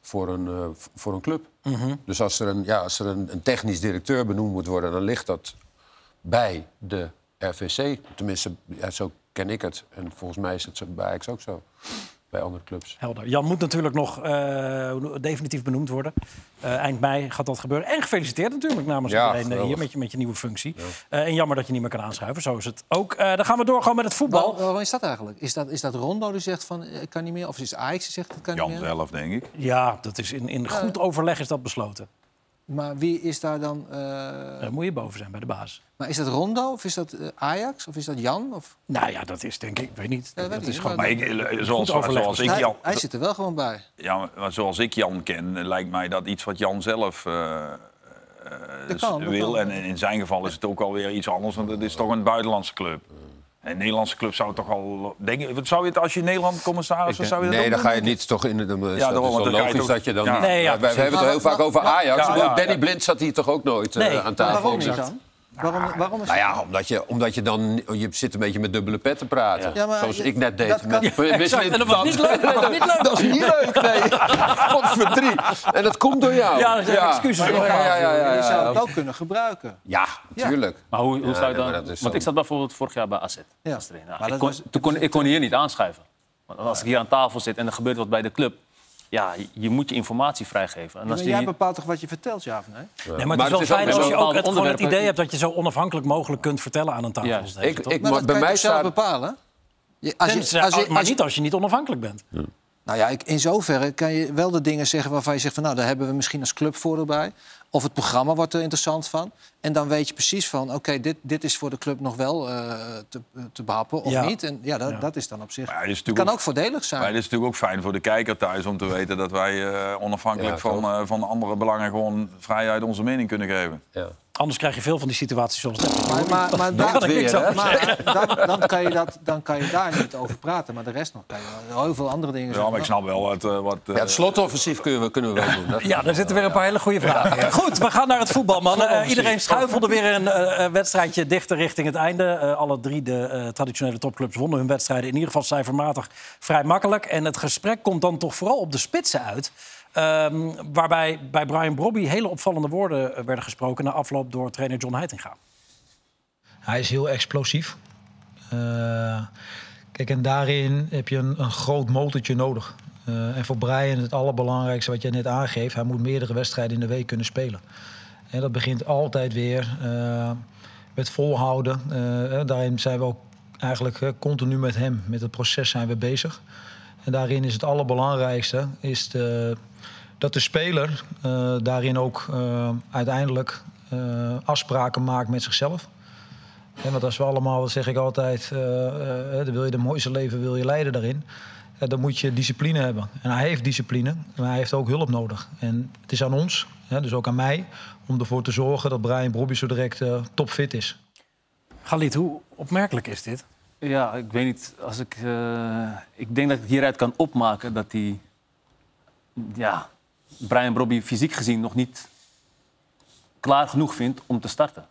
[SPEAKER 3] voor een, eh, v- voor een club. Dus als er, een, ja, als er een, een technisch directeur benoemd moet worden, dan ligt dat bij de RVC. Tenminste, ja, zo ken ik het. En volgens mij is het zo bij Ajax ook zo. Bij andere clubs.
[SPEAKER 1] Helder. Jan moet natuurlijk nog eh, hoe noem- definitief benoemd worden. Eh, eind mei gaat dat gebeuren. En gefeliciteerd natuurlijk namens
[SPEAKER 3] Ja,
[SPEAKER 1] iedereen eh,
[SPEAKER 3] geweldig.
[SPEAKER 1] hier met je, met je nieuwe functie. Eh, en jammer dat je niet meer kan aanschuiven. Zo is het ook. Eh, dan gaan we door gewoon met het voetbal.
[SPEAKER 2] Waar- waarom is dat eigenlijk? Is dat, is dat Rondo die zegt van eh, ik kan niet meer? Of is het Ajax die zegt het kan
[SPEAKER 6] Jan
[SPEAKER 2] niet meer?
[SPEAKER 6] zelf, denk ik.
[SPEAKER 1] Ja, dat is in, in goed overleg is dat besloten.
[SPEAKER 2] Maar wie is daar dan? eh,
[SPEAKER 1] Daar moet je boven zijn bij de baas.
[SPEAKER 2] maar is dat Rondo of is dat eh, Ajax of is dat Jan? Of,
[SPEAKER 1] Nou ja, dat is denk ik, ik weet niet.
[SPEAKER 2] Ja,
[SPEAKER 1] dat
[SPEAKER 2] weet
[SPEAKER 1] is
[SPEAKER 2] ik,
[SPEAKER 1] gewoon.
[SPEAKER 6] Maar ik, eh, zoals,
[SPEAKER 1] overleg
[SPEAKER 6] zoals, ik
[SPEAKER 2] hij,
[SPEAKER 6] Jan,
[SPEAKER 2] hij zit er wel gewoon bij.
[SPEAKER 6] ja, maar zoals ik Jan ken, eh, lijkt mij dat iets wat Jan zelf eh, eh,
[SPEAKER 2] Dat kan, dat
[SPEAKER 6] wil.
[SPEAKER 2] kan.
[SPEAKER 6] En in zijn geval is het ook alweer iets anders, want het is toch een buitenlandse club.
[SPEAKER 3] Mm.
[SPEAKER 6] En Een Nederlandse club zou toch al... Denk, je- wat zou je het, als je Nederland commissaris was, zou je dat
[SPEAKER 3] Nee,
[SPEAKER 6] ook
[SPEAKER 3] dan
[SPEAKER 6] doen?
[SPEAKER 3] ga je niet toch in de. Dan is dat
[SPEAKER 6] daarom,
[SPEAKER 3] is
[SPEAKER 6] want
[SPEAKER 3] wel
[SPEAKER 6] dan ga je
[SPEAKER 3] logisch
[SPEAKER 6] toch-
[SPEAKER 3] dat je dan.
[SPEAKER 6] Ja.
[SPEAKER 3] niet-
[SPEAKER 1] Nee, ja,
[SPEAKER 3] we, we hebben het
[SPEAKER 2] Maar-
[SPEAKER 3] heel vaak over Ajax.
[SPEAKER 6] Ja, ja,
[SPEAKER 3] Danny Blind zat hier toch ook nooit eh,
[SPEAKER 1] Nee.
[SPEAKER 3] aan
[SPEAKER 2] Maar
[SPEAKER 3] tafel.
[SPEAKER 2] waarom niet
[SPEAKER 3] Exact.
[SPEAKER 2] dan? Waarom, waarom is
[SPEAKER 3] Nou ja, omdat je, omdat je dan... Je zit een beetje met dubbele pet te praten.
[SPEAKER 2] Ja, maar
[SPEAKER 3] Zoals
[SPEAKER 2] je-
[SPEAKER 3] ik net deed.
[SPEAKER 2] dat kan-
[SPEAKER 3] [LAUGHS] met, met-
[SPEAKER 1] Exact, en dat was niet leuk. Dat was [LAUGHS] niet leuk.
[SPEAKER 3] Dat is niet leuk, nee. [LAUGHS] Wat verdriet. En dat komt door jou.
[SPEAKER 1] Ja, dat zijn excuses.
[SPEAKER 3] Ja, ja, ja, ja, ja,
[SPEAKER 2] Je zou
[SPEAKER 3] ja.
[SPEAKER 2] het ook kunnen gebruiken.
[SPEAKER 3] Ja, tuurlijk.
[SPEAKER 4] Maar hoe, hoe zou
[SPEAKER 3] nee,
[SPEAKER 4] je dan...
[SPEAKER 3] maar dat is
[SPEAKER 4] want
[SPEAKER 3] dan-
[SPEAKER 4] ik zat bijvoorbeeld vorig jaar bij AZ
[SPEAKER 2] Ja.
[SPEAKER 4] als trainer.
[SPEAKER 2] Maar
[SPEAKER 4] ik
[SPEAKER 2] dat
[SPEAKER 4] kon,
[SPEAKER 2] was-
[SPEAKER 4] toen kon, ik kon hier niet aanschuiven. Want als ik hier aan tafel zit en er gebeurt wat bij de club... Ja, je- je moet je informatie vrijgeven. En als
[SPEAKER 2] Maar
[SPEAKER 4] die
[SPEAKER 2] jij
[SPEAKER 4] niet-
[SPEAKER 2] bepaalt toch wat je vertelt, ja of nee?
[SPEAKER 1] Nee, maar het is wel
[SPEAKER 3] Maar het is ook
[SPEAKER 1] fijn
[SPEAKER 3] wel
[SPEAKER 1] als je
[SPEAKER 4] bepaalde
[SPEAKER 1] ook het, gewoon het
[SPEAKER 4] onderwerpen.
[SPEAKER 1] idee hebt dat je zo onafhankelijk mogelijk kunt vertellen aan een tafel.
[SPEAKER 4] Ja.
[SPEAKER 1] als deze,
[SPEAKER 3] Ik-
[SPEAKER 1] toch? Nou,
[SPEAKER 3] ik- maar
[SPEAKER 2] Nou, dat
[SPEAKER 3] bij
[SPEAKER 2] kan je
[SPEAKER 3] mij
[SPEAKER 2] toch zelf
[SPEAKER 3] staat...
[SPEAKER 2] bepalen. Je, als je,
[SPEAKER 1] ja,
[SPEAKER 2] als je,
[SPEAKER 1] oh, maar
[SPEAKER 2] als je-
[SPEAKER 1] niet als je niet onafhankelijk bent.
[SPEAKER 2] nou ja, ik, in zoverre kan je wel de dingen zeggen waarvan je zegt van nou, daar hebben we misschien als club voordeel bij. Of het programma wordt er interessant van. En dan weet je precies van oké, dit, dit is voor de club nog wel eh, te, te behappen of
[SPEAKER 1] Ja.
[SPEAKER 2] niet. En ja, dat, dat is dan op zich.
[SPEAKER 6] Maar het is
[SPEAKER 2] het
[SPEAKER 6] natuurlijk
[SPEAKER 2] kan
[SPEAKER 6] ook-
[SPEAKER 2] ook voordelig zijn.
[SPEAKER 6] Maar het is natuurlijk ook fijn voor de kijker thuis om te weten dat wij eh, onafhankelijk
[SPEAKER 3] Ja,
[SPEAKER 6] van, eh, van andere belangen gewoon vrijheid onze mening kunnen geven.
[SPEAKER 3] Ja.
[SPEAKER 1] Anders krijg je veel van die situaties zoals dit.
[SPEAKER 2] Maar, maar,
[SPEAKER 1] [LAUGHS]
[SPEAKER 2] maar
[SPEAKER 3] Dat
[SPEAKER 2] daar-
[SPEAKER 1] kan ik
[SPEAKER 3] weer,
[SPEAKER 1] niks over
[SPEAKER 3] hè?
[SPEAKER 2] maar [LAUGHS] dan, dan, kan je dat, dan kan je daar niet over praten. Maar de rest nog kan je wel heel veel andere dingen
[SPEAKER 6] Ja,
[SPEAKER 2] zeggen.
[SPEAKER 6] maar ik snap wel wat... eh, wat eh,
[SPEAKER 3] Ja, het slotoffensief kunnen we, kunnen we wel doen. Dat-
[SPEAKER 1] Ja, daar zitten weer een paar hele goede vragen. Goed, we gaan naar het voetbal, mannen. Eh, iedereen schuifelde weer een eh, eh, wedstrijdje dichter richting het einde. Eh, alle drie de eh, traditionele topclubs wonnen hun wedstrijden. In ieder geval cijfermatig vrij makkelijk. En het gesprek komt dan toch vooral op de spitsen uit. Ehm, waarbij bij Brian Brobby hele opvallende woorden eh, werden gesproken... na afloop door trainer John Heitinga.
[SPEAKER 7] Hij is heel explosief. Eh, kijk, en daarin heb je een, een groot motortje nodig. Eh, en voor Brian het allerbelangrijkste wat jij net aangeeft... hij moet meerdere wedstrijden in de week kunnen spelen. En dat begint altijd weer eh, met volhouden. Eh, eh, daarin zijn we ook eigenlijk eh, continu met hem. Met het proces zijn we bezig. En daarin is het allerbelangrijkste is de- dat de speler eh, daarin ook eh, uiteindelijk eh, afspraken maakt met zichzelf. Hè, want als we allemaal, dat zeg ik altijd, eh, eh, dan wil je de mooiste leven, wil je leiden daarin. Eh, dan moet je discipline hebben. En hij heeft discipline, maar hij heeft ook hulp nodig. En het is aan ons, hè, dus ook aan mij, om ervoor te zorgen dat Brian Brobby zo direct eh, topfit is.
[SPEAKER 1] Galit, hoe opmerkelijk is dit?
[SPEAKER 4] Ja, ik weet niet. Als ik, eh, ik denk dat ik hieruit kan opmaken dat hij... Ja, Brian Brobby fysiek gezien nog niet klaar genoeg vindt om te starten.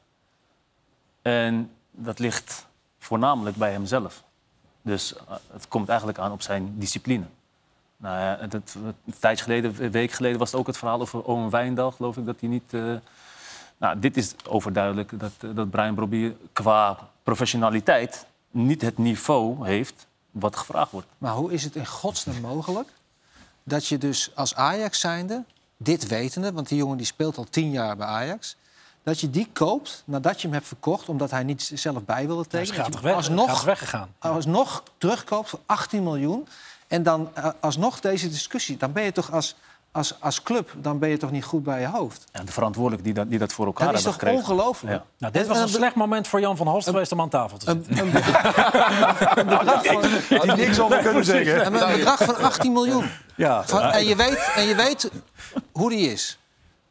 [SPEAKER 4] En dat ligt voornamelijk bij hemzelf. Dus eh, het komt eigenlijk aan op zijn discipline. Nou ja, het, het- een tijdje geleden, een week geleden, was het ook het verhaal over Owen Wijndal, geloof ik, dat hij niet... eh, nou, dit is overduidelijk dat, eh, dat Brian Brobby qua professionaliteit niet het niveau heeft wat gevraagd wordt.
[SPEAKER 2] Maar hoe is het in godsnaam mogelijk dat je dus als Ajax zijnde, dit wetende, want die jongen die speelt al tien jaar bij Ajax, dat je die koopt nadat je hem hebt verkocht, omdat hij niet zelf bij wilde
[SPEAKER 1] Hij is gratis
[SPEAKER 2] tekenen. Dat je
[SPEAKER 1] weg,
[SPEAKER 2] hem
[SPEAKER 1] gratis
[SPEAKER 2] alsnog,
[SPEAKER 1] weggegaan.
[SPEAKER 2] alsnog terugkoopt voor 18 miljoen en dan eh, alsnog deze discussie. Dan ben je toch als, als, als club, dan ben je toch niet goed bij je hoofd.
[SPEAKER 4] En de verantwoordelijken die dat, die dat voor elkaar
[SPEAKER 2] Dat is
[SPEAKER 4] hebben
[SPEAKER 2] toch
[SPEAKER 4] gekregen.
[SPEAKER 2] ongelooflijk?
[SPEAKER 4] Ja.
[SPEAKER 1] Nou, dit was een slecht moment voor Jan van Halst geweest om aan tafel te zitten.
[SPEAKER 2] Een, een bedrag van,
[SPEAKER 8] Die niks over kunnen zeggen.
[SPEAKER 2] een bedrag van 18 miljoen.
[SPEAKER 1] Ja.
[SPEAKER 2] Van- en, je weet, en je weet hoe die is.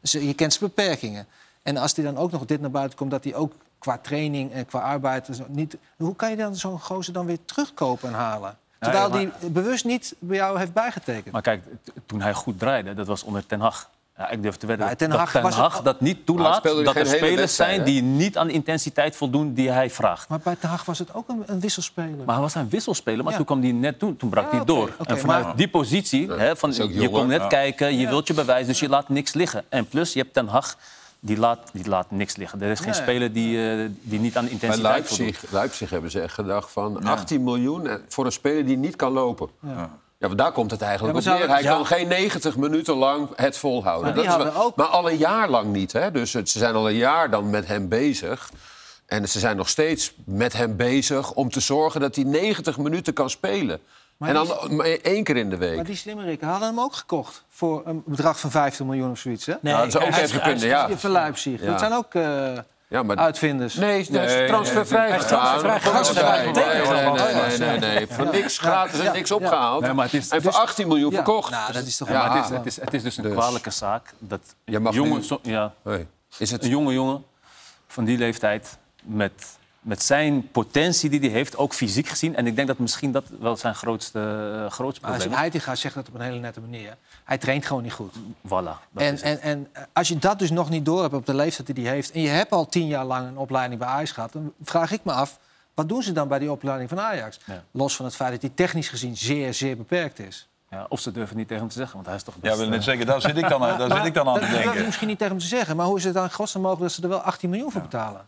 [SPEAKER 2] Ze- Je kent zijn beperkingen. En als die dan ook nog dit naar buiten komt, dat hij ook qua training en qua arbeid. en zo Niet, hoe kan je dan zo'n gozer dan weer terugkopen en halen? Terwijl
[SPEAKER 4] ja,
[SPEAKER 2] die bewust niet bij jou heeft bijgetekend.
[SPEAKER 4] Maar kijk, t- toen hij goed draaide, dat was onder Ten Hag. Ja, ik durf te wedden
[SPEAKER 2] Ja, Ten
[SPEAKER 4] dat
[SPEAKER 2] Hag
[SPEAKER 4] Ten
[SPEAKER 2] was-
[SPEAKER 4] Hag dat niet
[SPEAKER 3] Maar
[SPEAKER 4] toelaat.
[SPEAKER 3] speelde hij
[SPEAKER 4] Dat er
[SPEAKER 3] geen hele
[SPEAKER 4] spelers
[SPEAKER 3] wedstrijd,
[SPEAKER 4] zijn
[SPEAKER 3] hè?
[SPEAKER 4] die niet aan de intensiteit voldoen die hij vraagt.
[SPEAKER 2] Maar bij Den Haag was het ook een, een wisselspeler.
[SPEAKER 4] Maar hij was een wisselspeler, maar
[SPEAKER 2] Ja.
[SPEAKER 4] toen kwam hij net toe, toen brak
[SPEAKER 2] Ja,
[SPEAKER 4] hij
[SPEAKER 2] oké,
[SPEAKER 4] door.
[SPEAKER 2] oké,
[SPEAKER 4] en vanuit
[SPEAKER 2] maar-
[SPEAKER 4] die positie, hè, van,
[SPEAKER 3] is ook
[SPEAKER 4] je
[SPEAKER 3] jonger,
[SPEAKER 4] komt net
[SPEAKER 6] ja.
[SPEAKER 4] kijken, je wilt je bewijzen, dus je laat niks liggen. En plus, je hebt Ten Hag, die laat, die laat niks liggen. Er is geen
[SPEAKER 2] Nee.
[SPEAKER 4] speler die, eh, die niet aan de
[SPEAKER 3] Bij
[SPEAKER 4] intensiteit voldoet.
[SPEAKER 3] Leipzig, Leipzig hebben ze echt gedacht van 18 miljoen en- voor een speler die niet kan lopen. Ja. want daar komt het eigenlijk
[SPEAKER 2] Ja,
[SPEAKER 3] op
[SPEAKER 2] maar
[SPEAKER 3] neer.
[SPEAKER 2] zou-
[SPEAKER 3] Hij
[SPEAKER 2] ja.
[SPEAKER 3] kan geen 90 minuten lang het volhouden.
[SPEAKER 2] Maar die
[SPEAKER 3] Dat is
[SPEAKER 2] hadden
[SPEAKER 3] wel-
[SPEAKER 2] ook-
[SPEAKER 3] maar al een jaar lang niet. Hè? Dus het- ze zijn al een jaar dan met hem bezig. En ze zijn nog steeds met hem bezig om te zorgen dat hij 90 minuten kan spelen. en dan maar één keer in de week.
[SPEAKER 2] Maar die slimmerikken hadden hem ook gekocht voor een bedrag van 15 miljoen of zoiets. Hè?
[SPEAKER 1] Nee,
[SPEAKER 3] Ja, dat zou Nou, ook
[SPEAKER 1] hij-
[SPEAKER 3] even
[SPEAKER 1] hij-
[SPEAKER 3] kunnen, ja.
[SPEAKER 2] Die Van Leipzig.
[SPEAKER 3] Ja.
[SPEAKER 2] Dat zijn ook eh,
[SPEAKER 3] ja maar
[SPEAKER 2] uitvinders.
[SPEAKER 3] Nee, hij is transfervrij
[SPEAKER 1] Hij is transfervrij
[SPEAKER 3] gegaan.
[SPEAKER 1] gegaan.
[SPEAKER 3] Nee, nee,
[SPEAKER 1] Tekenen.
[SPEAKER 3] nee, nee, nee, nee. Voor niks gratis en niks opgehaald.
[SPEAKER 4] Nee, maar het is-
[SPEAKER 3] en voor
[SPEAKER 4] dus-
[SPEAKER 3] 18 miljoen
[SPEAKER 2] Ja.
[SPEAKER 3] verkocht.
[SPEAKER 2] Nou, dat is toch
[SPEAKER 3] Ja,
[SPEAKER 4] Maar het is, het, is, het is dus een
[SPEAKER 3] Dus.
[SPEAKER 4] kwalijke zaak dat
[SPEAKER 3] Je mag
[SPEAKER 4] jongen,
[SPEAKER 3] nu-
[SPEAKER 4] zo- ja,
[SPEAKER 3] Hey, Is het...
[SPEAKER 4] een jonge jongen van die leeftijd met met zijn potentie die hij heeft, ook fysiek gezien. En ik denk dat misschien dat wel zijn grootste, eh, grootste
[SPEAKER 2] Maar als je
[SPEAKER 4] probleem is.
[SPEAKER 2] Heitinga zegt dat op een hele nette manier. Hij traint gewoon niet goed.
[SPEAKER 4] Voilà. dat
[SPEAKER 2] En,
[SPEAKER 4] is het.
[SPEAKER 2] en, en als je dat dus nog niet door hebt op de leeftijd die hij heeft... en je hebt al tien jaar lang een opleiding bij Ajax gehad... dan vraag ik me af, wat doen ze dan bij die opleiding van Ajax?
[SPEAKER 4] Ja.
[SPEAKER 2] Los van het feit dat hij technisch gezien zeer, zeer beperkt is.
[SPEAKER 4] ja, of ze durven niet tegen hem te zeggen, want hij is toch best...
[SPEAKER 6] Ja, wil net
[SPEAKER 4] eh,
[SPEAKER 6] zeggen, daar zit ik dan, aan- daar zit ik dan
[SPEAKER 3] [LAUGHS]
[SPEAKER 6] aan te
[SPEAKER 2] dat dat hoef je
[SPEAKER 6] denken.
[SPEAKER 2] misschien niet tegen hem te zeggen... maar hoe is het dan in godsnaam mogelijk dat ze er wel 18 miljoen voor betalen?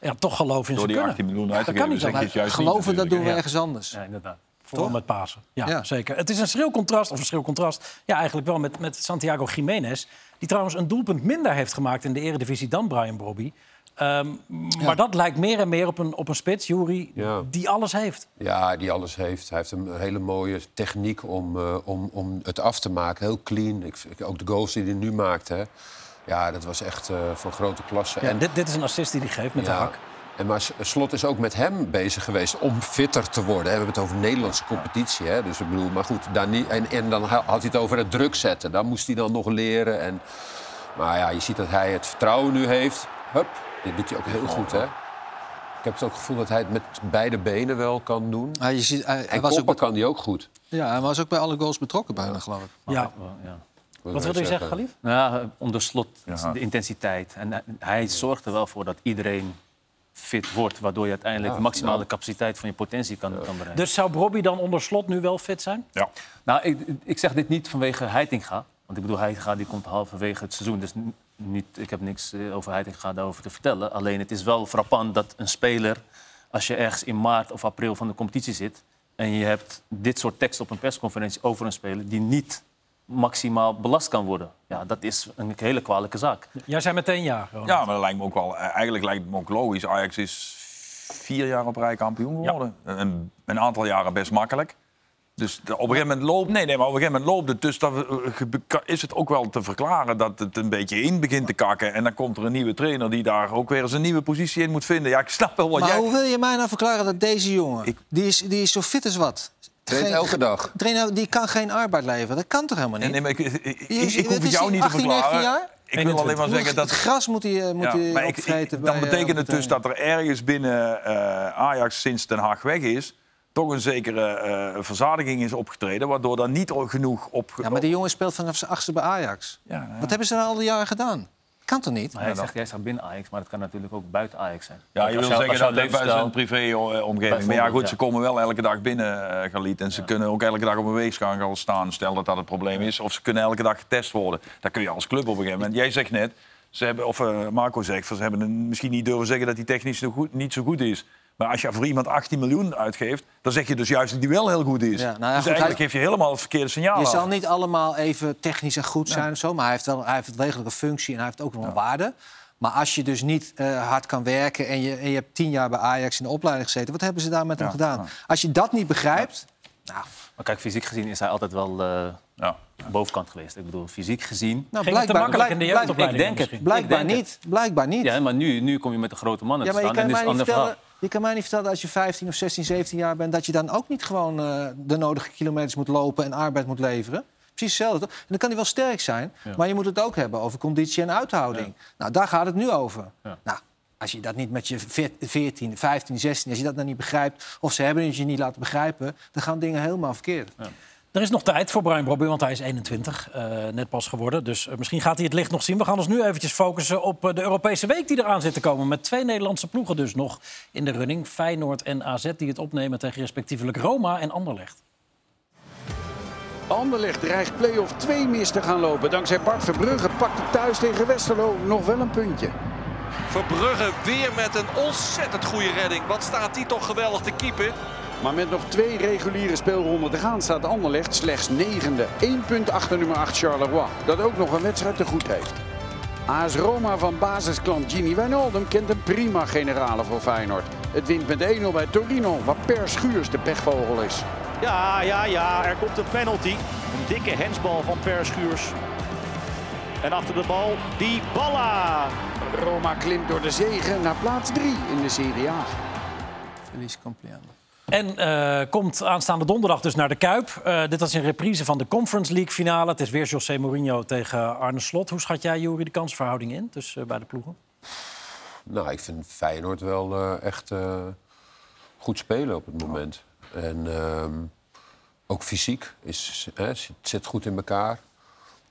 [SPEAKER 1] Ja, toch geloof in
[SPEAKER 6] Door
[SPEAKER 1] ze
[SPEAKER 6] die
[SPEAKER 1] kunnen.
[SPEAKER 6] 18 miljoen
[SPEAKER 1] Ja,
[SPEAKER 6] uit te
[SPEAKER 1] dat kan
[SPEAKER 6] geven,
[SPEAKER 1] niet
[SPEAKER 6] zeg je
[SPEAKER 1] dan.
[SPEAKER 6] het juist niet.
[SPEAKER 2] Geloven, dat
[SPEAKER 6] natuurlijk,
[SPEAKER 2] doen we
[SPEAKER 6] hè.
[SPEAKER 2] ergens anders.
[SPEAKER 4] ja, inderdaad.
[SPEAKER 1] Vooral met Pasen. Ja,
[SPEAKER 2] Ja.
[SPEAKER 1] zeker. Het is een schril contrast, of een schril contrast... ja, eigenlijk wel met, met Santiago Jiménez... die trouwens een doelpunt minder heeft gemaakt in de eredivisie dan Brian Brobby. Ehm, Maar dat lijkt meer en meer op een, op een spits, Jury,
[SPEAKER 3] Ja.
[SPEAKER 1] die alles heeft.
[SPEAKER 3] Ja, die alles heeft. Hij heeft een hele mooie techniek om, eh, om, om het af te maken. Heel clean. Ik, ik- ook de goals die hij nu maakt. Hè. Ja, dat was echt eh, van grote klasse.
[SPEAKER 1] Ja, dit, dit is een assist die hij geeft met de hak.
[SPEAKER 3] En maar S- Slot is ook met hem bezig geweest om fitter te worden. hè. We hebben het over Nederlandse competitie. Hè? Dus ik bedoel, maar goed, daar niet, en, en dan ha- had hij het over het druk zetten. Daar moest hij dan nog leren. En, maar ja, je ziet dat hij het vertrouwen nu heeft. Hup, dit doet hij ook heel goed, hè? Ik heb het ook gevoel dat hij het met beide benen wel kan doen.
[SPEAKER 2] Ah, je ziet, hij, hij
[SPEAKER 3] En
[SPEAKER 2] was ook,
[SPEAKER 3] koppen kan hij ook goed.
[SPEAKER 2] bij- ja, hij was ook bij alle goals betrokken bijna, geloof ik.
[SPEAKER 1] Ja.
[SPEAKER 4] Ja.
[SPEAKER 1] Wat wilde je zeggen, Galif?
[SPEAKER 4] Nou, ja, onder slot de intensiteit. En hij- hij zorgt er wel voor dat iedereen fit wordt, waardoor je uiteindelijk de maximale capaciteit van je potentie kan, kan bereiken.
[SPEAKER 1] Dus zou Brobby dan onder slot nu wel fit zijn?
[SPEAKER 6] Ja.
[SPEAKER 4] Nou, ik, ik zeg dit niet vanwege Heitinga. Want ik bedoel, Heitinga die komt halverwege het seizoen. Dus n- niet, ik heb niks eh, over Heitinga daarover te vertellen. Alleen het is wel frappant dat een speler... als je ergens in maart of april van de competitie zit... en je hebt dit soort tekst op een persconferentie over een speler... die niet maximaal belast kan worden. Ja, dat is een hele kwalijke zaak.
[SPEAKER 1] Jij zei meteen ja. Ronald.
[SPEAKER 6] ja, maar dat lijkt me ook wel. eh, Eigenlijk lijkt het me ook logisch. Ajax is vier jaar op rij kampioen geworden. Een, een aantal jaren best makkelijk. Dus op een gegeven moment loopt. Nee, nee, maar op een gegeven moment loopt het. Dus dan eh, gebe- ka- is het ook wel te verklaren dat het een beetje in begint te kakken. En dan komt er een nieuwe trainer die daar ook weer eens een nieuwe positie in moet vinden. Ja, ik snap wel wat
[SPEAKER 2] Maar
[SPEAKER 6] jij.
[SPEAKER 2] hoe wil je mij nou verklaren dat deze jongen, die, is, die is zo fit als wat...
[SPEAKER 3] Traint
[SPEAKER 2] Geen-
[SPEAKER 3] elke dag.
[SPEAKER 2] trainer, die kan geen arbeid leveren. Dat kan toch helemaal niet?
[SPEAKER 6] Nee, maar ik, ik, ik- ik
[SPEAKER 2] Jezus,
[SPEAKER 6] hoef
[SPEAKER 2] wat
[SPEAKER 6] het
[SPEAKER 2] is
[SPEAKER 6] jou
[SPEAKER 2] hij,
[SPEAKER 6] niet te
[SPEAKER 2] 18, 19
[SPEAKER 6] verklaren.
[SPEAKER 2] jaar?
[SPEAKER 6] Ik wil alleen maar zeggen dat
[SPEAKER 2] Het gras moet hij, eh, moet hij
[SPEAKER 6] maar ik-
[SPEAKER 2] opvreten
[SPEAKER 6] ik- dan
[SPEAKER 2] bij, eh,
[SPEAKER 6] betekent het
[SPEAKER 2] Albert
[SPEAKER 6] dus
[SPEAKER 2] Heijn.
[SPEAKER 6] dat er ergens binnen eh, Ajax sinds Den Haag weg is... toch een zekere eh, verzadiging is opgetreden... waardoor daar niet al genoeg op...
[SPEAKER 2] Ja, maar die jongen speelt vanaf zijn achtste bij Ajax.
[SPEAKER 6] Ja, ja.
[SPEAKER 2] Wat hebben ze nou al die jaren gedaan? Kan toch niet?
[SPEAKER 4] Maar hij zegt, jij zegt binnen Ajax, maar dat kan natuurlijk ook buiten Ajax zijn.
[SPEAKER 6] Ja, je
[SPEAKER 4] Als
[SPEAKER 6] wil
[SPEAKER 4] jou-
[SPEAKER 6] zeggen
[SPEAKER 4] als jouw
[SPEAKER 6] dat dat
[SPEAKER 4] leefstijl-
[SPEAKER 6] zijn privé-omgeving. Maar ja,
[SPEAKER 4] Bijvoorbeeld,
[SPEAKER 6] goed,
[SPEAKER 4] ja.
[SPEAKER 6] ze komen wel elke dag binnen, eh Galit. En ze kunnen ook elke dag op een weegschaal gaan staan. Stel dat dat het probleem is. Of ze kunnen elke dag getest worden. Dat kun je als club op een gegeven moment. Jij zegt net, ze hebben, of eh, Marco zegt, van, ze hebben een- misschien niet durven zeggen dat die technisch zo goed, niet zo goed is. Maar als je voor iemand 18 miljoen uitgeeft, dan zeg je dus juist dat die wel heel goed is.
[SPEAKER 2] Ja, nou ja,
[SPEAKER 6] dus
[SPEAKER 2] goed,
[SPEAKER 6] eigenlijk
[SPEAKER 2] hij-
[SPEAKER 6] geef je helemaal het verkeerde signaal
[SPEAKER 2] Je
[SPEAKER 6] af.
[SPEAKER 2] zal niet allemaal even technisch en goed zijn of zo, maar hij heeft wel hij heeft degelijk een functie en hij heeft ook wel een waarde. Maar als je dus niet eh, hard kan werken en je, en je hebt tien jaar bij Ajax in de opleiding gezeten, wat hebben ze daar met hem gedaan? Als je dat niet begrijpt,
[SPEAKER 4] Maar kijk, fysiek gezien is hij altijd wel eh,
[SPEAKER 6] Ja.
[SPEAKER 4] bovenkant geweest. Ik bedoel, fysiek gezien...
[SPEAKER 2] nou,
[SPEAKER 1] Ging het te
[SPEAKER 2] blijkbaar,
[SPEAKER 1] makkelijk in de
[SPEAKER 2] blijk-
[SPEAKER 1] jeugdopleiding?
[SPEAKER 4] Ik denk het.
[SPEAKER 1] misschien?
[SPEAKER 2] blijkbaar
[SPEAKER 4] Ik denk
[SPEAKER 2] niet. Blijkbaar niet.
[SPEAKER 4] Ja, maar nu, nu kom je met de grote mannen
[SPEAKER 2] Ja,
[SPEAKER 4] te
[SPEAKER 2] maar je
[SPEAKER 4] staan.
[SPEAKER 2] kan,
[SPEAKER 4] en dit
[SPEAKER 2] mij
[SPEAKER 4] is een
[SPEAKER 2] niet
[SPEAKER 4] ander
[SPEAKER 2] vertellen,
[SPEAKER 4] verhaal.
[SPEAKER 2] je kan mij niet vertellen als je 15 of 16, 17 jaar bent... dat je dan ook niet gewoon eh, de nodige kilometers moet lopen en arbeid moet leveren. Precies hetzelfde, toch? En dan kan hij wel sterk zijn, maar je moet het ook hebben over conditie en uithouding. Nou, daar gaat het nu over. Nou, als je dat niet met je veer- 14, 15, 16, als je dat dan niet begrijpt... of ze hebben het je niet laten begrijpen, dan gaan dingen helemaal verkeerd.
[SPEAKER 1] Er is nog tijd voor Brian Brobby, want hij is 21, eh, net pas geworden. Dus eh, misschien gaat hij het licht nog zien. We gaan ons nu eventjes focussen op eh, de Europese week die eraan zit te komen. Met twee Nederlandse ploegen dus nog in de running. Feyenoord en AZ die het opnemen tegen respectievelijk Roma en Anderlecht.
[SPEAKER 9] Anderlecht dreigt play-off 2 mis te gaan lopen. Dankzij Bart Verbrugge pakt het thuis tegen Westerlo nog wel een puntje.
[SPEAKER 10] Verbrugge weer met een ontzettend goede redding. Wat staat die toch geweldig te keepen.
[SPEAKER 9] Maar met nog twee reguliere speelronden te gaan staat Anderlecht slechts negende. 1 punt achter nummer 8 Charleroi, dat ook nog een wedstrijd te goed heeft. AS Roma van basisklant Gini Wijnaldum kent een prima generale voor Feyenoord. Het wint met 1-0 bij Torino, waar Per Schuurs de pechvogel is.
[SPEAKER 11] Ja, ja, ja, er komt een penalty. Een dikke hensbal van Per Schuurs. En achter de bal, die Balla.
[SPEAKER 9] Roma klimt door de zegen naar plaats 3 in de Serie A.
[SPEAKER 2] Felice Compliano.
[SPEAKER 1] En eh, komt aanstaande donderdag dus naar de Kuip. Eh, dit was een reprise van de Conference League finale. Het is weer José Mourinho tegen Arne Slot. Hoe schat jij, Jury, de kansverhouding in tussen eh, beide ploegen?
[SPEAKER 3] Nou, ik vind Feyenoord wel eh, echt eh, goed spelen op het moment. En ehm, ook fysiek is, hè, het zit goed in elkaar.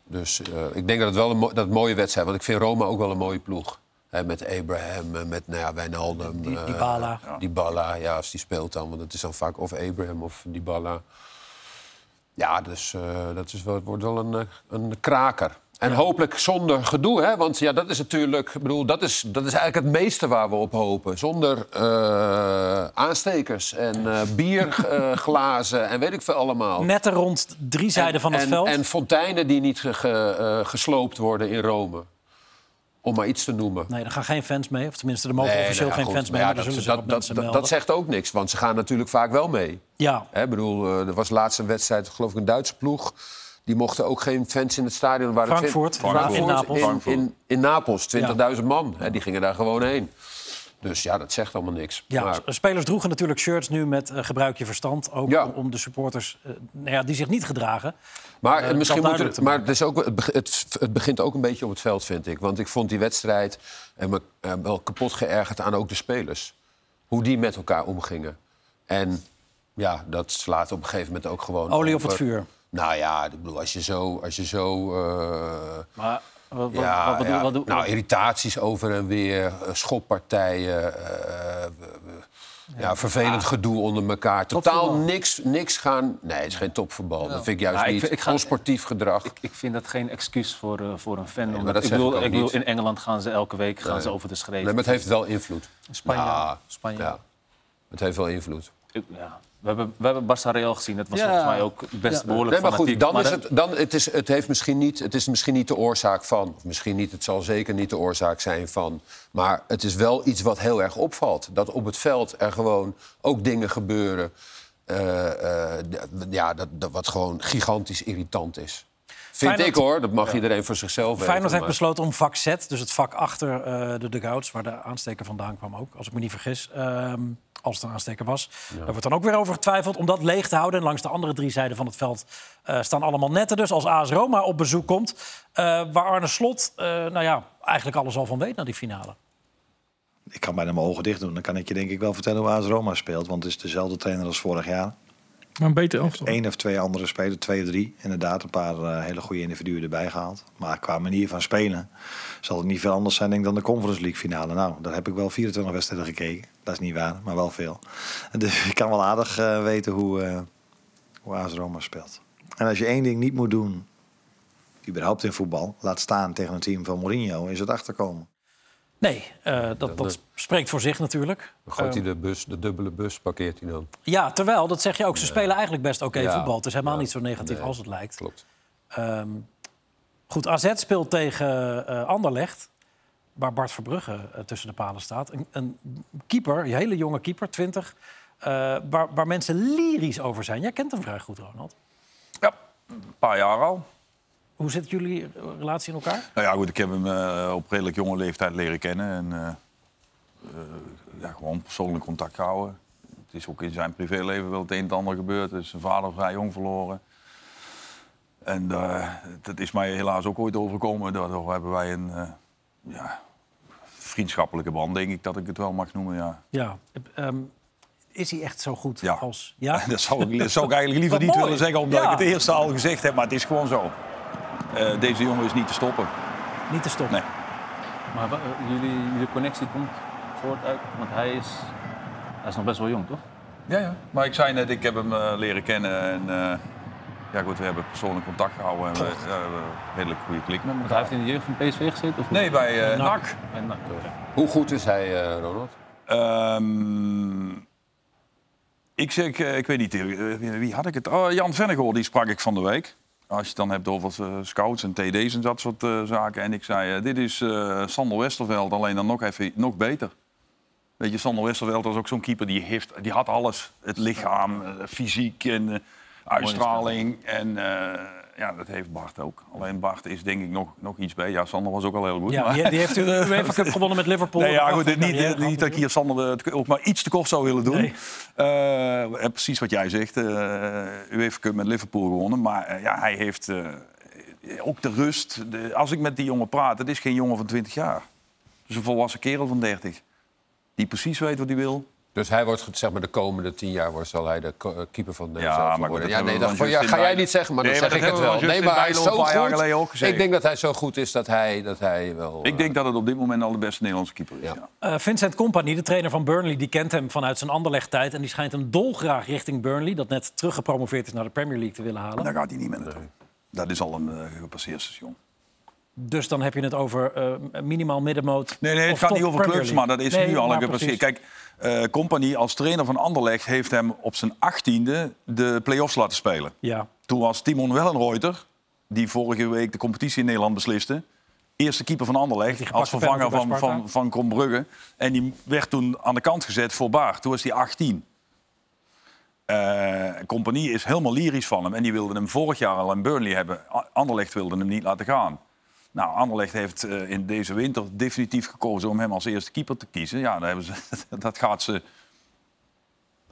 [SPEAKER 3] Dus eh, ik denk dat het wel een, mo- dat het een mooie wedstrijd Want ik vind Roma ook wel een mooie ploeg. Hè, met Abraham, eh, met nou ja, Wijnaldum.
[SPEAKER 1] Di-
[SPEAKER 3] eh,
[SPEAKER 1] Dybala.
[SPEAKER 3] Dybala, ja, als die speelt dan. Want het is dan vaak of Abraham of Dybala. Ja, dus eh, dat is wel, het wordt wel een, eh, een kraker. En hopelijk zonder gedoe, hè? want ja, dat is natuurlijk, ik bedoel, dat is, dat is eigenlijk het meeste waar we op hopen. Zonder eh, aanstekers en eh, bierglazen en weet ik veel allemaal.
[SPEAKER 1] Netten rond drie zijden van het
[SPEAKER 3] Oh. en,
[SPEAKER 1] veld.
[SPEAKER 3] En fonteinen die niet ge- ge- eh, gesloopt worden in Rome. Om maar iets te noemen.
[SPEAKER 1] Nee, er gaan geen fans mee. Of tenminste, er mogen
[SPEAKER 3] Nee,
[SPEAKER 1] officieel
[SPEAKER 3] nou ja,
[SPEAKER 1] geen
[SPEAKER 3] goed,
[SPEAKER 1] fans
[SPEAKER 3] maar
[SPEAKER 1] mee.
[SPEAKER 3] ja,
[SPEAKER 1] maar er
[SPEAKER 3] dat,
[SPEAKER 1] zullen
[SPEAKER 3] dat-
[SPEAKER 1] zich wat mensen
[SPEAKER 3] dat- dat-
[SPEAKER 1] melden.
[SPEAKER 3] dat zegt ook niks, want ze gaan natuurlijk vaak wel mee.
[SPEAKER 1] Ja.
[SPEAKER 3] Hè, bedoel, eh, er was laatst een wedstrijd, geloof ik, een Duitse ploeg. Die mochten ook geen fans in het stadion. Er Waren
[SPEAKER 1] Frankfurt,
[SPEAKER 3] twin-
[SPEAKER 1] Frankfurt. in Napels.
[SPEAKER 3] In, in, in Napels, 20.000 man. Hè, die gingen daar gewoon heen. Dus ja, dat zegt allemaal niks.
[SPEAKER 1] Ja, eh,
[SPEAKER 3] Maar-
[SPEAKER 1] s- spelers droegen natuurlijk shirts nu met eh, gebruik je verstand. Ook om, om de supporters eh, nou ja, die zich niet gedragen.
[SPEAKER 3] Maar,
[SPEAKER 1] eh,
[SPEAKER 3] eh, misschien
[SPEAKER 1] dat
[SPEAKER 3] moet
[SPEAKER 1] duidelijk
[SPEAKER 3] er,
[SPEAKER 1] te
[SPEAKER 3] maar het, is ook, het, beg- het, het begint ook een beetje op het veld, vind ik. Want ik vond die wedstrijd en me, eh, wel kapot geërgerd aan ook de spelers. Hoe die met elkaar omgingen. En ja, dat slaat op een gegeven moment ook gewoon...
[SPEAKER 1] Olie op
[SPEAKER 3] over.
[SPEAKER 1] het vuur.
[SPEAKER 3] Nou ja, ik bedoel, als je zo... Als je zo eh,
[SPEAKER 4] Maar wat, wat,
[SPEAKER 3] ja,
[SPEAKER 4] wat bedoel
[SPEAKER 3] ja.
[SPEAKER 4] wat doe-
[SPEAKER 3] nou, irritaties over en weer, eh, schoppartijen, eh, eh, ja, vervelend
[SPEAKER 4] Ah.
[SPEAKER 3] gedoe onder elkaar. Totaal niks, niks gaan. Nee, het is geen topvoetbal. Dat vind ik juist
[SPEAKER 4] Maar ik
[SPEAKER 3] niet.
[SPEAKER 4] vind- ik ga-
[SPEAKER 3] Onsportief gedrag.
[SPEAKER 4] Ik vind dat geen excuus voor, eh, voor een fan.
[SPEAKER 3] maar
[SPEAKER 4] omdat,
[SPEAKER 3] dat
[SPEAKER 4] ik
[SPEAKER 3] zeg
[SPEAKER 4] bedoel,
[SPEAKER 3] ik ook
[SPEAKER 4] ik bedoel,
[SPEAKER 3] niet.
[SPEAKER 4] in Engeland gaan ze elke week gaan
[SPEAKER 3] Nee.
[SPEAKER 4] ze over de schreef.
[SPEAKER 3] Nee, maar het heeft wel invloed.
[SPEAKER 2] Spanje.
[SPEAKER 3] Ja,
[SPEAKER 2] Spanje.
[SPEAKER 3] Ja. Het heeft wel invloed.
[SPEAKER 4] Ik- ja. we, hebben, we hebben Barça Real gezien. Dat was
[SPEAKER 2] Ja.
[SPEAKER 4] volgens mij ook best
[SPEAKER 2] Ja.
[SPEAKER 4] behoorlijk
[SPEAKER 3] Nee, maar goed,
[SPEAKER 4] fanatiek.
[SPEAKER 3] dan
[SPEAKER 4] Maar
[SPEAKER 3] is
[SPEAKER 4] dat-
[SPEAKER 3] het, dan, het, is, het, heeft misschien niet, het is misschien niet de oorzaak van. Of misschien niet, het zal zeker niet de oorzaak zijn van. Maar het is wel iets wat heel erg opvalt. Dat op het veld er gewoon ook dingen gebeuren. eh, eh, d- ja, dat, dat wat gewoon gigantisch irritant is. Vind
[SPEAKER 1] Feyenoord-
[SPEAKER 3] ik hoor, dat mag iedereen voor zichzelf weten.
[SPEAKER 1] Feyenoord heeft
[SPEAKER 3] maar-
[SPEAKER 1] besloten om vak Z, dus het vak achter eh de dugouts... waar de aansteker vandaan kwam ook, als ik me niet vergis. ehm, als het een aansteker was. Daar wordt dan ook weer over getwijfeld om dat leeg te houden. En langs de andere drie zijden van het veld eh, staan allemaal netten. Dus als AS Roma op bezoek komt, eh, waar Arne Slot eh, nou ja, eigenlijk alles al van weet na die finale.
[SPEAKER 8] Ik kan bijna mijn ogen dicht doen. Dan kan ik je denk ik wel vertellen hoe AS Roma speelt. Want het is dezelfde trainer als vorig jaar.
[SPEAKER 12] Maar een beter elftal.
[SPEAKER 8] Eén of twee andere spelers, twee of drie. Inderdaad, een paar eh, hele goede individuen erbij gehaald. Maar qua manier van spelen zal het niet veel anders zijn denk ik, dan de Conference League finale. Nou, daar heb ik wel 24 wedstrijden gekeken. Dat is niet waar, maar wel veel. [LAUGHS] Dus ik kan wel aardig eh, weten hoe, eh hoe AS Roma speelt. En als je één ding niet moet doen, überhaupt in voetbal... laat staan tegen een team van Mourinho, is het achterkomen.
[SPEAKER 1] Nee, eh, dat, dat spreekt voor zich natuurlijk.
[SPEAKER 3] Dan gooit hij de bus, de dubbele bus, parkeert hij dan.
[SPEAKER 1] Ja, terwijl, dat zeg je ook, ze spelen eigenlijk best oké
[SPEAKER 3] Ja.
[SPEAKER 1] voetbal. Het is helemaal
[SPEAKER 3] Ja.
[SPEAKER 1] niet zo negatief
[SPEAKER 3] Nee.
[SPEAKER 1] als het lijkt.
[SPEAKER 3] Klopt.
[SPEAKER 1] Ehm, goed, AZ speelt tegen eh Anderlecht, waar Bart Verbrugge eh, tussen de palen staat. Een, een keeper, een hele jonge keeper, 20, eh, waar, waar mensen lyrisch over zijn. Jij kent hem vrij goed, Ronald.
[SPEAKER 6] Een paar jaar al.
[SPEAKER 1] Hoe zit jullie eh, relatie in elkaar?
[SPEAKER 6] Nou ja, goed, ik heb hem eh, op redelijk jonge leeftijd leren kennen. En eh, eh, ja, gewoon persoonlijk contact gehouden. Het is ook in zijn privéleven wel het een en het ander gebeurd. Er is zijn vader vrij jong verloren. En eh, dat is mij helaas ook ooit overkomen. Daardoor hebben wij een eh, ja, vriendschappelijke band, denk ik dat ik het wel mag noemen. Ja.
[SPEAKER 1] Ja. Ehm, is hij echt zo goed
[SPEAKER 6] Ja.
[SPEAKER 1] als... Ja?
[SPEAKER 6] [LAUGHS] Dat zou, ik, dat zou ik eigenlijk liever
[SPEAKER 1] Wat
[SPEAKER 6] niet
[SPEAKER 1] mooi.
[SPEAKER 6] willen zeggen, omdat
[SPEAKER 1] Ja.
[SPEAKER 6] ik het eerste al gezegd heb. Maar het is gewoon zo. Eh, deze jongen is niet te stoppen.
[SPEAKER 1] Niet te stoppen.
[SPEAKER 6] Nee.
[SPEAKER 4] Maar wa- eh, jullie, jullie connectie komt voort uit, want hij is, hij is nog best wel jong, toch?
[SPEAKER 6] Ja, ja. Maar ik zei net, ik heb hem eh, leren kennen. En eh, ja, goed, we hebben persoonlijk contact gehouden. En we, ja, we hebben een redelijk goede klik met
[SPEAKER 4] Want
[SPEAKER 6] elkaar.
[SPEAKER 4] hij heeft in de jeugd van PSV gezeten? Of
[SPEAKER 6] Nee, bij
[SPEAKER 1] Nou,
[SPEAKER 6] eh NAC.
[SPEAKER 4] En NAC, oké.
[SPEAKER 3] Hoe goed is hij, eh, Ronald?
[SPEAKER 6] Ehm, ik zeg, eh, ik weet niet, eh, wie- wie had ik het? Oh, Jan Vennegoor, die sprak ik van de week. Als je het dan hebt over eh, scouts en TD's en dat soort eh, zaken. En ik zei, eh, dit is eh, Sander Westerveld, alleen dan nog, even, nog beter. Weet je, Sander Westerveld was ook zo'n keeper, die, heeft, die had alles. Het lichaam, eh, fysiek en eh, uitstraling. En eh, ja, dat heeft Bart ook. Alleen Bart is denk ik nog, nog iets bij. Ja, Sander was ook al heel goed.
[SPEAKER 1] Ja,
[SPEAKER 6] maar- [LAUGHS]
[SPEAKER 1] die, die heeft u de UEFA Cup gewonnen met Liverpool.
[SPEAKER 6] Nee, ja,
[SPEAKER 1] Een
[SPEAKER 6] goed,
[SPEAKER 1] prachtige
[SPEAKER 6] dit niet,
[SPEAKER 1] carrière
[SPEAKER 6] dit-
[SPEAKER 1] gehad
[SPEAKER 6] niet dat ik hier Sander het ook maar iets te kort zou willen doen.
[SPEAKER 1] Nee.
[SPEAKER 6] Eh, eh, precies wat jij zegt. eh UEFA Cup met Liverpool gewonnen. Maar eh, ja, hij heeft eh, ook de rust. De- als ik met die jongen praat, het is geen jongen van 20 jaar. Dus een volwassen kerel van 30. Die precies weet wat hij wil.
[SPEAKER 3] Dus hij wordt, zeg maar, de komende tien jaar wordt, zal hij de ko- eh, keeper van Nederland
[SPEAKER 6] Ja,
[SPEAKER 3] zelf
[SPEAKER 6] maar goed,
[SPEAKER 3] worden.
[SPEAKER 6] dat
[SPEAKER 3] Ja,
[SPEAKER 6] hebben
[SPEAKER 3] nee,
[SPEAKER 6] we
[SPEAKER 3] dat
[SPEAKER 6] van
[SPEAKER 3] ja, ga
[SPEAKER 6] Justin
[SPEAKER 3] jij
[SPEAKER 6] Bijlo.
[SPEAKER 3] niet zeggen, maar
[SPEAKER 6] Nee,
[SPEAKER 3] dan
[SPEAKER 6] maar
[SPEAKER 3] zeg ik
[SPEAKER 6] dat
[SPEAKER 3] het
[SPEAKER 6] hebben
[SPEAKER 3] wel.
[SPEAKER 6] we van
[SPEAKER 3] Nee, maar hij is
[SPEAKER 6] Justin
[SPEAKER 3] zo
[SPEAKER 6] Bijlo een paar jaar
[SPEAKER 3] goed.
[SPEAKER 6] geleden ook gezegd.
[SPEAKER 3] Ik denk dat hij zo goed is dat hij, dat hij wel... eh,
[SPEAKER 6] Ik denk dat het op dit moment al de beste Nederlandse keeper is. Ja.
[SPEAKER 1] Eh, Vincent Company, de trainer van Burnley, die kent hem vanuit zijn anderlegtijd. En die schijnt hem dolgraag richting Burnley, dat net teruggepromoveerd is naar de Premier League, te willen halen.
[SPEAKER 6] Daar gaat hij niet meer naartoe. Dat is al een eh, gepasseerd station.
[SPEAKER 1] Dus dan heb je het over eh, minimaal middenmoot.
[SPEAKER 6] Nee, nee het
[SPEAKER 1] of
[SPEAKER 6] gaat
[SPEAKER 1] top
[SPEAKER 6] niet over
[SPEAKER 1] Premier
[SPEAKER 6] clubs, maar
[SPEAKER 1] League.
[SPEAKER 6] dat is
[SPEAKER 1] Nee,
[SPEAKER 6] nu al
[SPEAKER 1] maar
[SPEAKER 6] een gepasseerd.
[SPEAKER 1] precies.
[SPEAKER 6] Kijk, eh Company als trainer van Anderlecht heeft hem op zijn achttiende de play-offs laten spelen.
[SPEAKER 1] Ja,
[SPEAKER 6] Toen was Timon Wellenreuter, die vorige week de competitie in Nederland besliste... eerste keeper van
[SPEAKER 1] die
[SPEAKER 6] Anderlecht,
[SPEAKER 1] gepakte
[SPEAKER 6] als vervanger
[SPEAKER 1] penalty bij
[SPEAKER 6] van,
[SPEAKER 1] Sparta?
[SPEAKER 6] van, van Kombrugge. En die werd toen aan de kant gezet voor Baar. Toen was hij 18. Eh compagnie is helemaal lyrisch van hem. En die wilde hem vorig jaar al in Burnley hebben. A- Anderlecht wilde hem niet laten gaan. Nou, Anderlecht heeft eh, in deze winter definitief gekozen om hem als eerste keeper te kiezen. Ja, daar hebben ze, [LAUGHS] dat gaat ze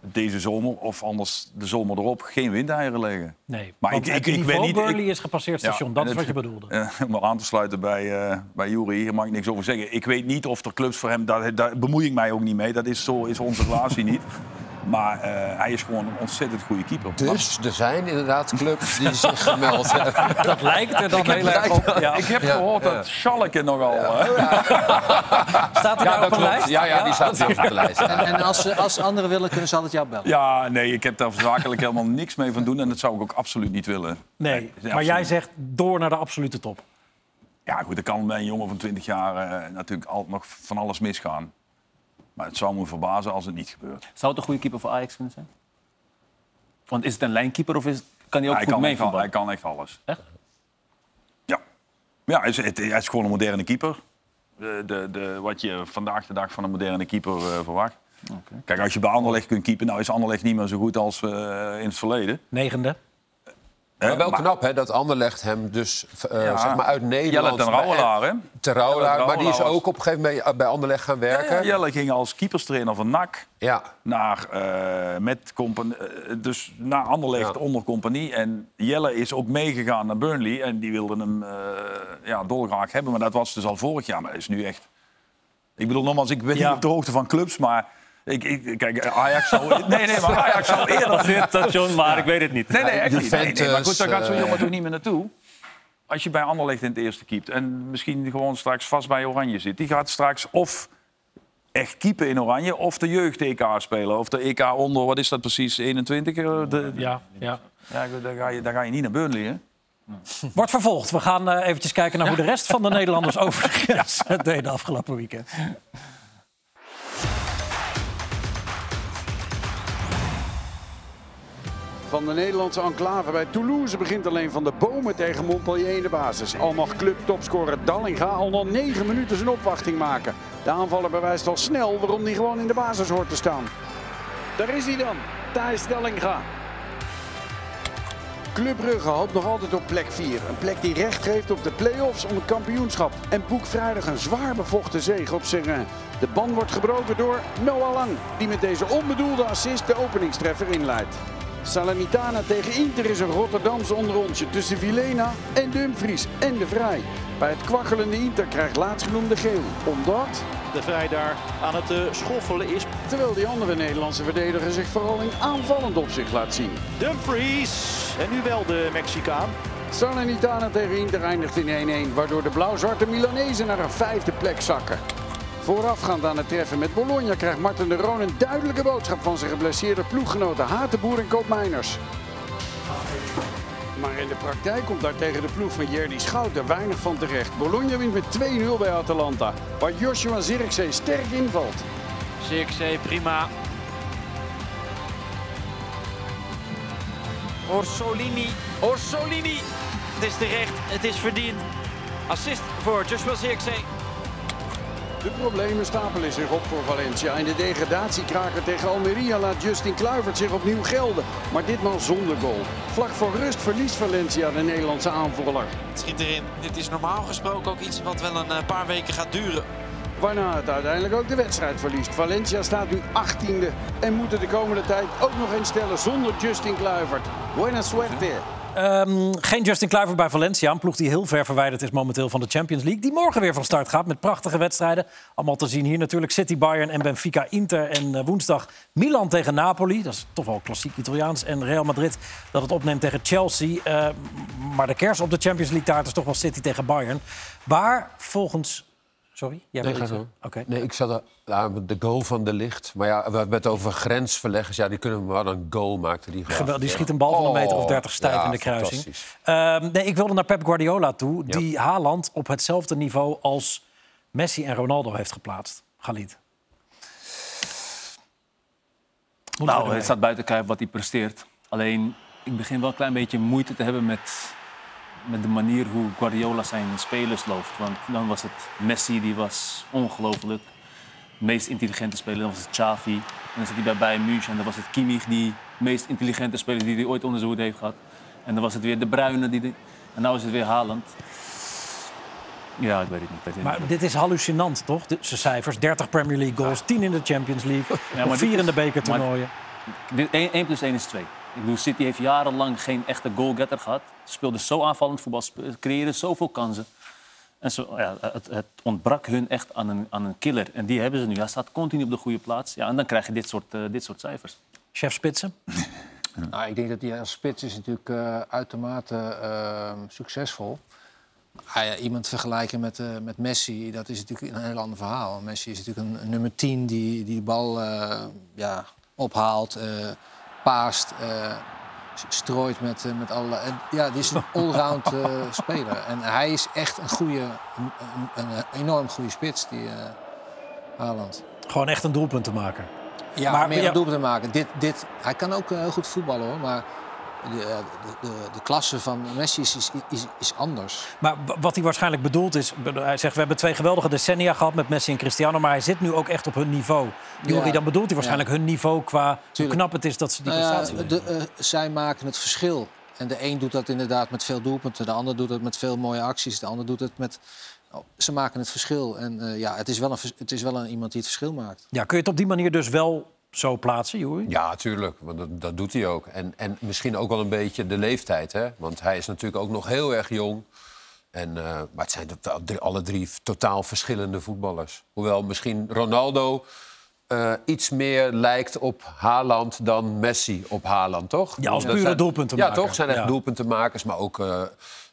[SPEAKER 6] deze zomer of anders de zomer erop geen windeieren leggen.
[SPEAKER 1] nee.
[SPEAKER 6] Maar
[SPEAKER 1] Want
[SPEAKER 6] ik-
[SPEAKER 1] het
[SPEAKER 6] ik- ik
[SPEAKER 1] niveau
[SPEAKER 6] weet niet, ik-
[SPEAKER 1] Burnley is gepasseerd station,
[SPEAKER 6] Ja,
[SPEAKER 1] dat
[SPEAKER 6] en
[SPEAKER 1] is wat
[SPEAKER 6] het-
[SPEAKER 1] je bedoelde.
[SPEAKER 6] Eh, [LAUGHS] om aan te sluiten bij, eh, bij Jury, hier mag ik niks over zeggen. Ik weet niet of er clubs voor hem, daar, daar bemoei ik mij ook niet mee. Dat is, zo is onze relatie niet. Maar eh, hij is gewoon een ontzettend goede keeper.
[SPEAKER 3] Dus er zijn inderdaad clubs die zich gemeld
[SPEAKER 6] [LAUGHS]
[SPEAKER 3] hebben.
[SPEAKER 1] Dat lijkt er dan heel erg op. [LAUGHS]
[SPEAKER 6] Maar
[SPEAKER 1] Ja.
[SPEAKER 6] ik heb gehoord dat Schalke nogal... eh,
[SPEAKER 1] Staat er nou op een lijst?
[SPEAKER 3] Ja, ja, die staat weer op de
[SPEAKER 6] [LAUGHS]
[SPEAKER 3] lijst.
[SPEAKER 2] En, en als, ze- als ze anderen willen, kunnen ze altijd jou bellen.
[SPEAKER 6] ja, nee, ik heb daar zakelijk helemaal niks mee van doen. En dat zou ik ook absoluut niet willen.
[SPEAKER 1] Nee,
[SPEAKER 6] Ja,
[SPEAKER 1] maar jij
[SPEAKER 6] absoluut.
[SPEAKER 1] zegt door naar de absolute top.
[SPEAKER 6] Ja, goed, er kan bij een jongen van 20 jaar eh, natuurlijk altijd nog van alles misgaan. Maar het zou me verbazen als het niet gebeurt.
[SPEAKER 4] Zou het een goede keeper voor Ajax kunnen zijn? Want is het een lijnkeeper of is, kan hij ook
[SPEAKER 6] hij,
[SPEAKER 4] goed
[SPEAKER 6] kan echt, al-
[SPEAKER 4] meevoetballen?
[SPEAKER 6] hij kan echt alles.
[SPEAKER 4] Echt?
[SPEAKER 6] Ja. Ja, hij is, het- hij is gewoon een moderne keeper. De, de, de, wat je vandaag de dag van een moderne keeper eh, verwacht. Kijk, als je bij Anderlecht kunt keepen, nou is Anderlecht niet meer zo goed als eh, in het verleden.
[SPEAKER 1] Negende.
[SPEAKER 6] Hè,
[SPEAKER 3] Maar wel
[SPEAKER 6] maar-
[SPEAKER 3] knap hè, dat Anderlecht hem dus eh, zeg maar uit
[SPEAKER 6] Jelle
[SPEAKER 3] Nederland...
[SPEAKER 6] ten Rouwelaar, hè?
[SPEAKER 3] Ten Rouwelaar,
[SPEAKER 6] Jelle
[SPEAKER 3] maar die is
[SPEAKER 6] Rouwelaar was-
[SPEAKER 3] ook op een gegeven moment eh, bij Anderlecht gaan werken. Ja,
[SPEAKER 6] Jelle ging als keeperstrainer van NAC naar, eh, met Compan- eh, dus naar Anderlecht
[SPEAKER 3] Ja.
[SPEAKER 6] onder compagnie. En Jelle is ook meegegaan naar Burnley. En die wilden hem eh, ja, dolgraag hebben. Maar dat was dus al vorig jaar. Maar dat is nu echt... Ik bedoel, nogmaals, ik ben
[SPEAKER 1] Ja.
[SPEAKER 6] niet op de hoogte van clubs, maar... Ik, ik, kijk, Ajax zou... Nee, nee, maar Ajax zou eerder... eh,
[SPEAKER 4] Station, maar ik weet het niet.
[SPEAKER 6] Nee, nee, echt niet. Dus, eh, Nee, nee, maar goed, daar gaat zo'n
[SPEAKER 3] Juventus,
[SPEAKER 6] jongen toch niet meer naartoe? Als je bij Anderlecht in het eerste keept en misschien gewoon straks vast bij Oranje zit. Die gaat straks of echt keepen in Oranje of de jeugd-EK spelen. Of de EK onder, wat is dat precies, 21? eh, De,
[SPEAKER 1] Ja, ja.
[SPEAKER 6] ja, goed, daar, ga je, daar ga je niet naar Burnley, hè?
[SPEAKER 1] Wordt vervolgd. We gaan eh, eventjes kijken naar hoe de rest van de Nederlanders over de grens het deden afgelopen weekend.
[SPEAKER 9] Van de Nederlandse enclave bij Toulouse begint alleen van de bomen tegen Montpellier in de basis. Al mag clubtopscorer Dallinga al na 9 minuten zijn opwachting maken. De aanvaller bewijst al snel waarom hij gewoon in de basis hoort te staan. Daar is hij dan, Thijs Dallinga. Club Brugge hoopt nog altijd op plek 4. Een plek die recht geeft op de play-offs om het kampioenschap. En boekt vrijdag een zwaar bevochten zege op Serrain. De ban wordt gebroken door Noah Lang. Die met deze onbedoelde assist de openingstreffer inleidt. Salamitana tegen Inter is een Rotterdamse onderrondje tussen Vilena en Dumfries en De Vrij. Bij het kwakkelende Inter krijgt laatstgenoemde geel. Omdat...
[SPEAKER 11] De Vrij daar aan het eh, schoffelen is.
[SPEAKER 9] Terwijl die andere Nederlandse verdediger zich vooral in aanvallend opzicht laat zien.
[SPEAKER 11] Dumfries. En nu wel de Mexicaan.
[SPEAKER 9] Salernitana tegen Inter eindigt in 1-1, waardoor de blauw-zwarte Milanezen naar een vijfde plek zakken. Voorafgaand aan het treffen met Bologna krijgt Martin de Roon een duidelijke boodschap van zijn geblesseerde ploeggenoten Hatenboer en Koopmeiners. Maar in de praktijk komt daar tegen de ploeg van Jerdy Schout er weinig van terecht. Bologna wint met 2-0 bij Atalanta, waar Joshua Zirkzee sterk invalt.
[SPEAKER 12] Zirkzee, prima. Orsolini, Orsolini. Het is terecht, het is verdiend. Assist voor Joshua Zirkzee.
[SPEAKER 9] De problemen stapelen zich op voor Valencia. In de degradatiekraker tegen Almeria laat Justin Kluivert zich opnieuw gelden. Maar ditmaal zonder goal. Vlak voor rust verliest Valencia de Nederlandse aanvaller.
[SPEAKER 12] Het schiet erin. Dit is normaal gesproken ook iets wat wel een eh, paar weken gaat duren.
[SPEAKER 9] Waarna het uiteindelijk ook de wedstrijd verliest. Valencia staat nu 18e en moet er de komende tijd ook nog eens stellen zonder Justin Kluivert. Buena suerte.
[SPEAKER 1] Ehm, geen Justin Kluivert bij Valencia. Een ploeg die heel ver verwijderd is momenteel van de Champions League. Die morgen weer van start gaat met prachtige wedstrijden. Allemaal te zien hier natuurlijk City, Bayern en Benfica, Inter. En eh, woensdag Milan tegen Napoli. Dat is toch wel klassiek Italiaans. En Real Madrid dat het opneemt tegen Chelsea. Eh, maar de kers op de Champions League taart is toch wel City tegen Bayern. Maar volgens... Sorry? Jij
[SPEAKER 3] Nee,
[SPEAKER 1] wil
[SPEAKER 3] ga
[SPEAKER 1] iets
[SPEAKER 3] zo.
[SPEAKER 1] zeggen? Oké.
[SPEAKER 3] Nee, ik zat er, nou, de goal van de licht. Maar ja, we hebben het over grensverleggers. Ja, die kunnen maar een goal maken. Die,
[SPEAKER 1] Geweld- die
[SPEAKER 3] Ja.
[SPEAKER 1] schiet een bal van een meter of
[SPEAKER 3] Oh,
[SPEAKER 1] 30 stijf
[SPEAKER 3] ja,
[SPEAKER 1] in de kruising.
[SPEAKER 3] fantastisch.
[SPEAKER 1] Ehm, nee, ik wilde naar Pep Guardiola toe,
[SPEAKER 3] Ja.
[SPEAKER 1] die Haaland op hetzelfde niveau als Messi en Ronaldo heeft geplaatst. Galit. Moeten we
[SPEAKER 4] Nou, het
[SPEAKER 1] ermee?
[SPEAKER 4] staat buiten kijf wat hij presteert. Alleen, ik begin wel een klein beetje moeite te hebben met, met de manier hoe Guardiola zijn spelers looft. Want dan was het Messi, die was ongelooflijk. De meest intelligente speler, dan was het Xavi. En dan zit hij bij Bayern München. En dan was het Kimmich, die meest intelligente speler die hij ooit onder zijn hoede heeft gehad. En dan was het weer De Bruyne. Die de- En nu is het weer Haaland. Ja, ik weet het niet. Ik weet het
[SPEAKER 1] Maar
[SPEAKER 4] niet.
[SPEAKER 1] dit is hallucinant, toch? De, zijn cijfers, 30 Premier League goals, 10 in de Champions League,
[SPEAKER 4] Ja, maar
[SPEAKER 1] 4
[SPEAKER 4] dit
[SPEAKER 1] in de
[SPEAKER 4] is-
[SPEAKER 1] bekertoernooien.
[SPEAKER 4] Dit- één- 1 plus 1 is 2. Ik bedoel, City heeft jarenlang geen echte goalgetter gehad. Ze speelden zo aanvallend voetbal, spe- creëerden zoveel kansen. En zo, ja, het, het ontbrak hun echt aan een, aan een killer. En die hebben ze nu. Hij staat continu op de goede plaats. Ja, en dan krijg je dit soort, eh, dit soort cijfers.
[SPEAKER 1] Chef Spitsen?
[SPEAKER 2] Nou, ik denk dat hij als spits is natuurlijk eh, uitermate eh, succesvol. Ah ja, iemand vergelijken met, eh, met Messi, dat is natuurlijk een heel ander verhaal. Messi is natuurlijk een, een nummer 10 die, die de bal eh, ja, ophaalt, eh, paast, eh, s- strooit met, eh, met alle... en ja, die is een allround eh, speler. En hij is echt een goede, een, een, een enorm goede spits, die eh Haaland.
[SPEAKER 1] Gewoon echt een doelpunt te maken.
[SPEAKER 2] Ja,
[SPEAKER 1] Maar-
[SPEAKER 2] meer een
[SPEAKER 1] ja.
[SPEAKER 2] doelpunt te maken. Dit, dit, hij kan ook eh, heel goed voetballen hoor, maar de, eh, de, de, de klasse van Messi is, is, is, is anders.
[SPEAKER 1] Maar w- wat hij waarschijnlijk bedoelt is... bedo- Hij zegt, we hebben twee geweldige decennia gehad met Messi en Cristiano... maar hij zit nu ook echt op hun niveau. Jury,
[SPEAKER 2] Ja.
[SPEAKER 1] dan bedoelt hij waarschijnlijk hun niveau qua hoe knap het is dat ze die
[SPEAKER 2] Nou ja,
[SPEAKER 1] prestatie hebben.
[SPEAKER 2] de, eh, zij maken het verschil. En de een doet dat inderdaad met veel doelpunten, de ander doet het met veel mooie acties, de ander doet het met. oh, ze maken het verschil. En eh, ja, het is, wel een, vers- het is wel een, iemand die het verschil
[SPEAKER 4] Nou,
[SPEAKER 2] maakt.
[SPEAKER 1] Ja, kun je het op die manier dus wel zo plaatsen, Joeri?
[SPEAKER 3] Ja, tuurlijk. Want dat, dat doet hij ook. En, en misschien ook wel een beetje de leeftijd. Hè? Want hij is natuurlijk ook nog heel erg jong. En, eh, maar het zijn totaal drie- alle drie totaal verschillende voetballers. Hoewel misschien Ronaldo eh, iets meer lijkt op Haaland dan Messi op Haaland, toch?
[SPEAKER 1] Ja, als
[SPEAKER 3] Dat
[SPEAKER 1] pure
[SPEAKER 3] zijn-
[SPEAKER 1] doelpuntenmaker.
[SPEAKER 3] Ja, toch? Zijn echt
[SPEAKER 1] Ja.
[SPEAKER 3] doelpuntenmakers. Maar ook eh,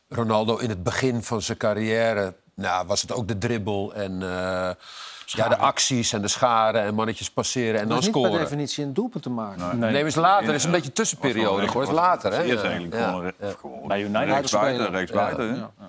[SPEAKER 3] Ronaldo in het begin van zijn carrière... Nou, was het ook de dribbel en eh, ja, de acties en de scharen en mannetjes passeren en
[SPEAKER 2] Dat
[SPEAKER 3] dan
[SPEAKER 2] is niet per
[SPEAKER 3] scoren.
[SPEAKER 2] definitie een doelpunt te maken.
[SPEAKER 3] Nee, maar het is later. Het is een beetje tussenperiode.
[SPEAKER 6] Was wel
[SPEAKER 3] Gewoon
[SPEAKER 6] een-
[SPEAKER 3] is later, hè?
[SPEAKER 6] was- Eerst
[SPEAKER 3] Ja,
[SPEAKER 6] eigenlijk
[SPEAKER 3] ja.
[SPEAKER 6] gewoon, eh, re- gewoon
[SPEAKER 4] Bij United.
[SPEAKER 6] rechts buiten,
[SPEAKER 2] spelen.
[SPEAKER 6] rechts buiten. hè?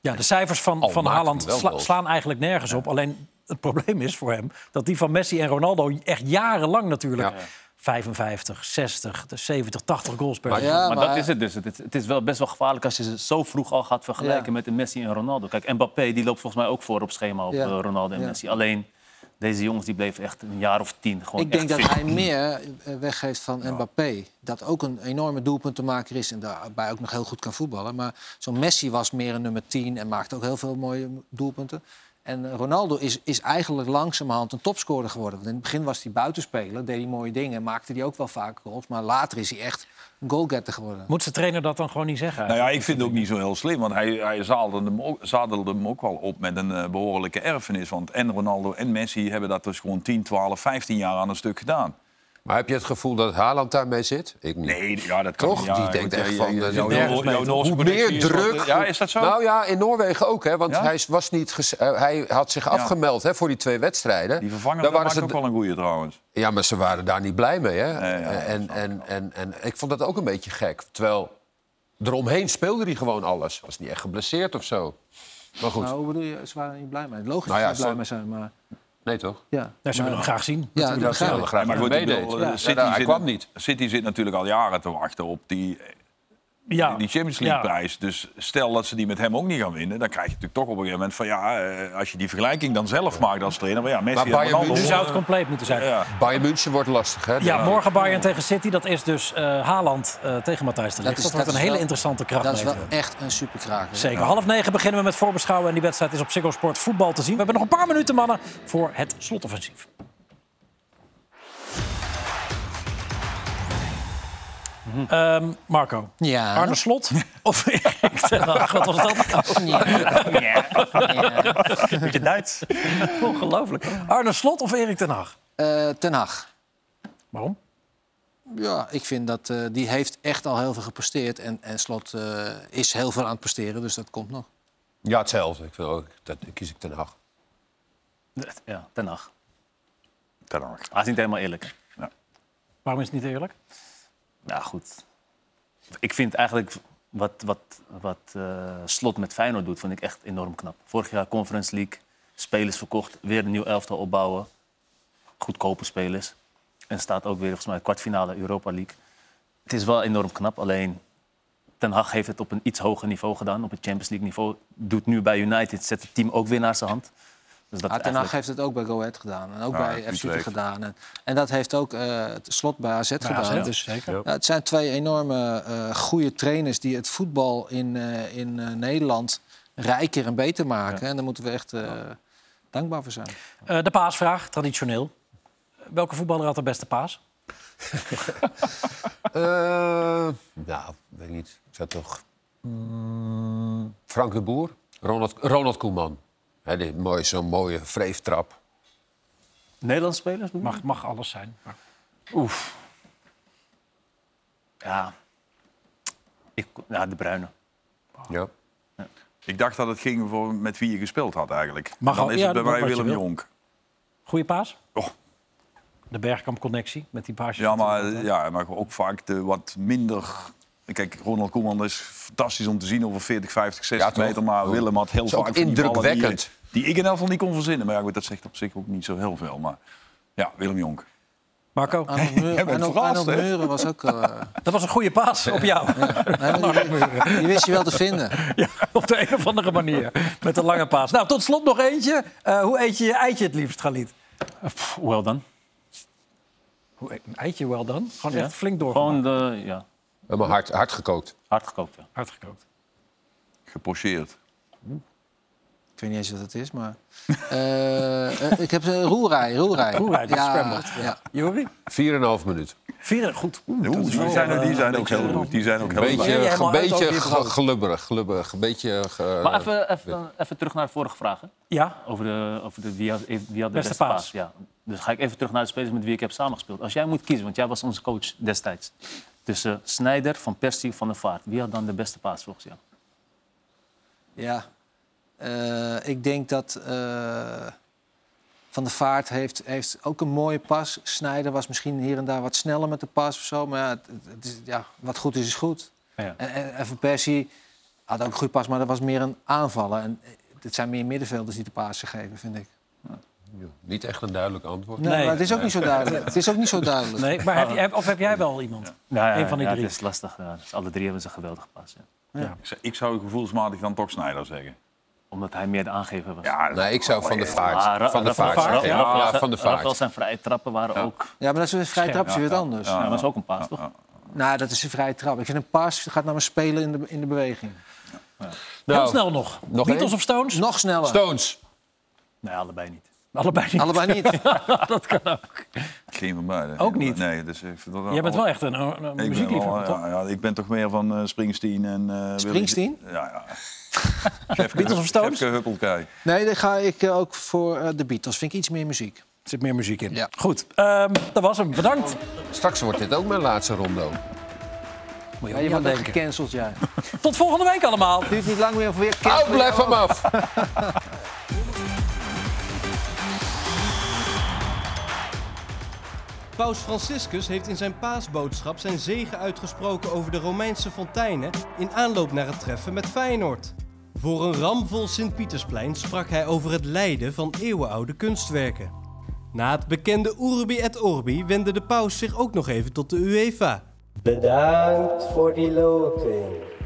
[SPEAKER 1] Ja, de cijfers van,
[SPEAKER 3] Al
[SPEAKER 1] van
[SPEAKER 3] maakt
[SPEAKER 1] Haaland
[SPEAKER 3] hij wel
[SPEAKER 1] sla-
[SPEAKER 3] goals.
[SPEAKER 1] slaan eigenlijk nergens op. Alleen het probleem is voor hem dat die van Messi en Ronaldo echt jarenlang natuurlijk... 55, 60, de 70, 80 goals per seizoen.
[SPEAKER 2] Ja,
[SPEAKER 4] maar,
[SPEAKER 2] maar-
[SPEAKER 4] dat is het dus. Het is, het is wel best wel gevaarlijk als je ze zo vroeg al gaat vergelijken
[SPEAKER 2] Ja.
[SPEAKER 4] met de Messi en Ronaldo. Kijk, Mbappé die loopt volgens mij ook voor op schema op
[SPEAKER 2] Ja.
[SPEAKER 4] eh, Ronaldo en
[SPEAKER 2] Ja.
[SPEAKER 4] Messi. Alleen deze jongens die bleven echt een jaar of tien gewoon
[SPEAKER 2] Ik denk
[SPEAKER 4] echt
[SPEAKER 2] dat
[SPEAKER 4] fit.
[SPEAKER 2] hij meer eh, weggeeft van Mbappé. Dat ook een enorme doelpuntenmaker is en daarbij ook nog heel goed kan voetballen. Maar zo'n Messi was meer een nummer 10 en maakte ook heel veel mooie doelpunten. En eh, Ronaldo is, is eigenlijk langzamerhand een topscorer geworden. Want in het begin was hij buitenspeler, deed hij mooie dingen... maakte hij ook wel vaak goals, maar later is hij echt een goalgetter geworden.
[SPEAKER 1] Moet zijn trainer dat dan gewoon niet zeggen?
[SPEAKER 6] Nou ja, ik vind het ook niet zo heel slim. Want hij, hij zadelde, hem ook, zadelde hem ook wel op met een eh, behoorlijke erfenis. Want en Ronaldo en Messi hebben dat dus gewoon 10, 12, 15 jaar aan een stuk gedaan.
[SPEAKER 3] Maar heb je het gevoel dat Haaland daarmee zit? Ik niet.
[SPEAKER 6] Nee, ja, dat kan
[SPEAKER 3] Toch?
[SPEAKER 6] niet. Ja,
[SPEAKER 3] Die denkt
[SPEAKER 6] goed,
[SPEAKER 3] echt
[SPEAKER 6] ja,
[SPEAKER 3] van...
[SPEAKER 6] ja,
[SPEAKER 3] eh,
[SPEAKER 6] jouw
[SPEAKER 3] nergens
[SPEAKER 6] Noor-
[SPEAKER 3] mee
[SPEAKER 6] jouw
[SPEAKER 3] te-
[SPEAKER 6] Noorse
[SPEAKER 3] Hoe
[SPEAKER 6] productie
[SPEAKER 3] meer
[SPEAKER 6] is wat-
[SPEAKER 3] druk...
[SPEAKER 6] Ja, is dat zo?
[SPEAKER 3] Nou ja, in Noorwegen ook, hè. Want
[SPEAKER 6] Ja?
[SPEAKER 3] hij, was niet ges- eh, hij had zich afgemeld hè, voor die twee wedstrijden.
[SPEAKER 6] die vervanger
[SPEAKER 3] Daar
[SPEAKER 6] dat
[SPEAKER 3] waren
[SPEAKER 6] maakt
[SPEAKER 3] ze
[SPEAKER 6] ook wel een goeie trouwens.
[SPEAKER 3] Ja, maar ze waren daar niet blij mee, hè.
[SPEAKER 6] Nee, ja, dat
[SPEAKER 3] en, en, en, en ik vond dat ook een beetje gek. Terwijl eromheen speelde hij gewoon alles. Was niet echt geblesseerd of zo. Maar goed,
[SPEAKER 2] Nou, hoe bedoel je, ze waren er niet blij mee. Logisch
[SPEAKER 3] Nou ja,
[SPEAKER 2] dat ze er blij
[SPEAKER 3] zo-
[SPEAKER 2] mee zijn, maar...
[SPEAKER 3] nee toch?
[SPEAKER 2] Ja,
[SPEAKER 1] Ja, ze willen hem graag zien.
[SPEAKER 2] ja dat
[SPEAKER 3] Ja,
[SPEAKER 2] begrijp ik.
[SPEAKER 3] graag
[SPEAKER 6] maar
[SPEAKER 3] dat
[SPEAKER 6] goed,
[SPEAKER 3] hij
[SPEAKER 6] ik bedoel,
[SPEAKER 3] meedeed.
[SPEAKER 6] eh,
[SPEAKER 3] Ja, nou,
[SPEAKER 6] City,
[SPEAKER 3] Hij
[SPEAKER 6] zit,
[SPEAKER 3] kwam niet.
[SPEAKER 6] City zit natuurlijk al jaren te wachten op die,
[SPEAKER 1] Ja.
[SPEAKER 6] die Champions
[SPEAKER 1] Ja.
[SPEAKER 6] League-prijs. Dus stel dat ze die met hem ook niet gaan winnen... dan krijg je natuurlijk toch op een gegeven moment van... ja, eh, als je die vergelijking dan zelf maakt als trainer... maar ja, Messi
[SPEAKER 3] Maar
[SPEAKER 6] en
[SPEAKER 3] Bayern
[SPEAKER 6] Ronaldo...
[SPEAKER 1] Nu
[SPEAKER 3] München
[SPEAKER 1] zou het compleet moeten zijn.
[SPEAKER 6] Ja.
[SPEAKER 3] Bayern München wordt lastig, hè.
[SPEAKER 1] Ja, morgen Bayern tegen City. Dat is dus eh, Haaland eh, tegen Matthijs de Ligt. Dat,
[SPEAKER 2] is-
[SPEAKER 1] wordt een
[SPEAKER 2] dat is
[SPEAKER 1] hele
[SPEAKER 2] wel-
[SPEAKER 1] interessante kracht.
[SPEAKER 2] Dat is wel echt een superkraker.
[SPEAKER 1] Zeker. Half negen beginnen we met voorbeschouwen. En die wedstrijd is op Ziggo Sport voetbal te zien. We hebben nog een paar minuten, mannen, voor het slotoffensief. Ehm, Marco,
[SPEAKER 2] Ja.
[SPEAKER 1] Arne Slot
[SPEAKER 2] [LAUGHS]
[SPEAKER 1] of Erik ten Hag? Wat was dat?
[SPEAKER 2] Ja.
[SPEAKER 1] Beetje Duits. Ongelooflijk. Arne Slot of Erik ten Hag?
[SPEAKER 2] Eh, ten Hag.
[SPEAKER 1] Waarom?
[SPEAKER 2] Ja, ik vind dat eh, die heeft echt al heel veel gepresteerd. En, en Slot eh, is heel veel aan het presteren, dus dat komt nog.
[SPEAKER 3] Ja, hetzelfde. Ik vind ook, dat kies ik ten Hag.
[SPEAKER 4] Ja, ten Hag.
[SPEAKER 6] Ten Hag.
[SPEAKER 4] Hij is niet helemaal eerlijk.
[SPEAKER 1] Waarom is het niet eerlijk?
[SPEAKER 4] Nou goed. Ik vind eigenlijk wat, wat, wat eh, Slot met Feyenoord doet, vind ik echt enorm knap. Vorig jaar Conference League, spelers verkocht, weer een nieuw elftal opbouwen. Goedkope spelers. En staat ook weer volgens mij kwartfinale Europa League. Het is wel enorm knap, alleen Ten Hag heeft het op een iets hoger niveau gedaan. Op het Champions League niveau. Doet nu bij United, zet het team ook weer naar zijn hand. Dus dat
[SPEAKER 2] Maar
[SPEAKER 4] is
[SPEAKER 2] Ten Hag
[SPEAKER 4] eigenlijk-
[SPEAKER 2] heeft het ook bij Go Ahead gedaan. En ook
[SPEAKER 4] Ja,
[SPEAKER 2] bij FC Utrecht
[SPEAKER 4] Utrecht.
[SPEAKER 2] gedaan. En, en dat heeft ook eh, het slot bij AZ gedaan.
[SPEAKER 1] AZ,
[SPEAKER 2] dus
[SPEAKER 1] zeker.
[SPEAKER 2] ja, het zijn twee enorme eh, goede trainers die het voetbal in, eh, in eh, Nederland rijker en beter maken. En daar moeten we echt eh, dankbaar voor zijn.
[SPEAKER 1] Eh, de paasvraag, traditioneel. Welke voetballer had de beste paas?
[SPEAKER 3] Eh, nou, weet ik niet. Ik zou toch... Mm, Frank de Boer? Ronald, Ronald Koeman. Hè, die mooi, Zo'n mooie vreeftrap.
[SPEAKER 4] Nederlandse spelers? bedoel je?
[SPEAKER 1] Mag, mag alles zijn. Maar
[SPEAKER 4] Oef. Ja. Ik, ja, de Bruine.
[SPEAKER 3] Ja.
[SPEAKER 6] Ik dacht dat het ging voor met wie je gespeeld had eigenlijk.
[SPEAKER 1] Mag
[SPEAKER 6] dan
[SPEAKER 1] al-
[SPEAKER 6] is
[SPEAKER 1] ja,
[SPEAKER 6] het bij
[SPEAKER 1] wat-
[SPEAKER 6] mij
[SPEAKER 1] wat je
[SPEAKER 6] Willem
[SPEAKER 1] wil.
[SPEAKER 6] Jonk.
[SPEAKER 1] Goeie paas?
[SPEAKER 6] Oh.
[SPEAKER 1] De Bergkamp-connectie met die paasjes.
[SPEAKER 6] Ja maar, ja, maar ook vaak de wat minder... Kijk, Ronald Koeman is fantastisch om te zien over 40, 50, 60
[SPEAKER 3] Ja, toch?
[SPEAKER 6] meter. Maar Willem had heel
[SPEAKER 3] Is
[SPEAKER 6] vaak
[SPEAKER 3] ook
[SPEAKER 6] van die ballen
[SPEAKER 3] indrukwekkend.
[SPEAKER 6] Die, die ik in elk geval niet kon verzinnen. Maar ja, goed, dat zegt op zich ook niet zo heel veel. Maar ja, Willem Jonk.
[SPEAKER 1] Marco,
[SPEAKER 2] Arnold Meuren,
[SPEAKER 6] bent
[SPEAKER 2] Arnold-
[SPEAKER 6] verrast,
[SPEAKER 2] Arnold
[SPEAKER 6] hè?
[SPEAKER 2] Meuren was ook... eh,
[SPEAKER 1] dat was een goede paas op jou.
[SPEAKER 2] Arnold Meuren. die wist je wel te vinden.
[SPEAKER 1] Ja, [LAUGHS] op de een of andere manier. Met een lange paas. Nou, tot slot nog eentje. Eh, hoe eet je je eitje het liefst, Galit?
[SPEAKER 4] Eh, Wel dan.
[SPEAKER 1] Hoe eet een eitje wel dan? Gewoon
[SPEAKER 4] Ja.
[SPEAKER 1] echt flink door.
[SPEAKER 4] Gewoon de, ja,
[SPEAKER 3] Helemaal hard, hard gekookt.
[SPEAKER 4] hard gekookt. Ja.
[SPEAKER 1] Hard gekookt.
[SPEAKER 6] Gepocheerd.
[SPEAKER 2] Ik weet niet eens wat het is, maar... [LAUGHS] eh, eh, ik heb eh, roerij, roerij.
[SPEAKER 1] Roerij, dat is scrambled,
[SPEAKER 2] ja.
[SPEAKER 1] Jori?
[SPEAKER 3] 4,5 minuut.
[SPEAKER 1] Vieren, goed.
[SPEAKER 6] Oeh, die, zijn, er- die zijn ook heel goed. eh, Die zijn ook heel
[SPEAKER 3] Beetje,
[SPEAKER 6] goed.
[SPEAKER 1] jij
[SPEAKER 3] een
[SPEAKER 1] helemaal uit
[SPEAKER 3] beetje
[SPEAKER 1] over je
[SPEAKER 3] ge-
[SPEAKER 1] brood.
[SPEAKER 3] glubberig, glubberig. Een beetje... ge-
[SPEAKER 4] Maar even, even, even terug naar de vorige vraag. hè.
[SPEAKER 1] Ja,
[SPEAKER 4] Over, de, over de, wie, had, wie had de beste,
[SPEAKER 1] Beste paas.
[SPEAKER 4] paas. Ja. Dus ga ik even terug naar de spelers met wie ik heb samengespeeld. Als jij moet kiezen, want jij was onze coach destijds. Tussen Snijder, Van Persie, Van der Vaart. Wie had dan de beste paas volgens jou?
[SPEAKER 2] Ja, Eh, ik denk dat eh, Van der Vaart heeft, heeft ook een mooie pas. Snijder was misschien hier en daar wat sneller met de pas of zo. Maar ja, het, het is, ja wat goed is, is goed.
[SPEAKER 4] Ja.
[SPEAKER 2] En, en, en Van Persie had ook een goede pas, maar dat was meer een aanvaller. En eh, het zijn meer middenvelders die de pasen geven, vind ik.
[SPEAKER 3] Niet echt een duidelijk antwoord.
[SPEAKER 2] Nee, maar het is ook niet zo duidelijk. Het is ook niet zo duidelijk.
[SPEAKER 1] nee, maar heb je, heb- of heb jij wel iemand?
[SPEAKER 4] Nou, Ah. ja,
[SPEAKER 1] Eén van die
[SPEAKER 4] ja,
[SPEAKER 1] drie.
[SPEAKER 4] Het is lastig. Ja. Dus alle drie hebben ze geweldig paas. Ja.
[SPEAKER 6] Ik zou- Ik zou gevoelsmatig dan toch Sneijder zeggen.
[SPEAKER 4] Omdat hij meer de aangever was.
[SPEAKER 6] Ja,
[SPEAKER 3] Nee, ik zou van de
[SPEAKER 4] Maar
[SPEAKER 3] vaart.
[SPEAKER 4] Ra-
[SPEAKER 3] Van de
[SPEAKER 4] Rafael-
[SPEAKER 3] vaart.
[SPEAKER 4] Rafael-
[SPEAKER 3] zeggen. Ja,
[SPEAKER 4] Rafael-
[SPEAKER 3] van de
[SPEAKER 4] Rafael
[SPEAKER 3] vaart.
[SPEAKER 4] zijn vrije trappen waren ook...
[SPEAKER 2] Ja, maar dat is een vrij trapje weer anders.
[SPEAKER 4] Ja, dat was ook een paas, toch?
[SPEAKER 2] Nou, dat is een vrije trap. Ik vind een pas gaat naar een speler in de, in de beweging.
[SPEAKER 1] Heel
[SPEAKER 3] Nou,
[SPEAKER 1] snel nog.
[SPEAKER 3] nog
[SPEAKER 1] Beatles
[SPEAKER 3] één?
[SPEAKER 1] of Stones?
[SPEAKER 2] Nog sneller.
[SPEAKER 3] Stones.
[SPEAKER 4] Nee, allebei niet.
[SPEAKER 1] Allebei
[SPEAKER 6] Ah.
[SPEAKER 1] niet. Nou,
[SPEAKER 2] Allebei niet.
[SPEAKER 1] Dat kan ook.
[SPEAKER 6] Geen van beiden.
[SPEAKER 1] Ook niet?
[SPEAKER 6] Nee, dus ik vind dat
[SPEAKER 1] Jij bent
[SPEAKER 6] alle-
[SPEAKER 1] wel echt een, een, een
[SPEAKER 6] Ik ben wel,
[SPEAKER 1] muziekliefhebber, toch?
[SPEAKER 6] ja, ja, ik ben toch meer van eh, Springsteen en... eh, Willy-
[SPEAKER 2] Springsteen?
[SPEAKER 6] Ja, ja.
[SPEAKER 1] Beatles of Stones?
[SPEAKER 6] Jefke Huppelkei.
[SPEAKER 2] Nee, dan ga ik eh, ook voor eh, de Beatles. Vind ik iets meer muziek.
[SPEAKER 1] Er zit meer muziek in.
[SPEAKER 2] Ja.
[SPEAKER 1] Goed, ehm, dat was hem. Bedankt.
[SPEAKER 3] Straks wordt dit ook mijn laatste rondo.
[SPEAKER 1] Moet je
[SPEAKER 2] Ja,
[SPEAKER 1] ook
[SPEAKER 2] je
[SPEAKER 1] niet aan
[SPEAKER 2] wordt ook
[SPEAKER 1] denken.
[SPEAKER 2] gecanceld, ja.
[SPEAKER 1] Tot volgende week allemaal.
[SPEAKER 2] Duurt niet lang meer of weer cancel.
[SPEAKER 3] Oh, blijf hem af.
[SPEAKER 13] Paus Franciscus heeft in zijn paasboodschap zijn zegen uitgesproken over de Romeinse fonteinen in aanloop naar het treffen met Feyenoord. Voor een ramvol Sint-Pietersplein sprak hij over het lijden van eeuwenoude kunstwerken. Na het bekende Urbi et Orbi wendde de paus zich ook nog even tot de UEFA.
[SPEAKER 14] Bedankt voor die loting.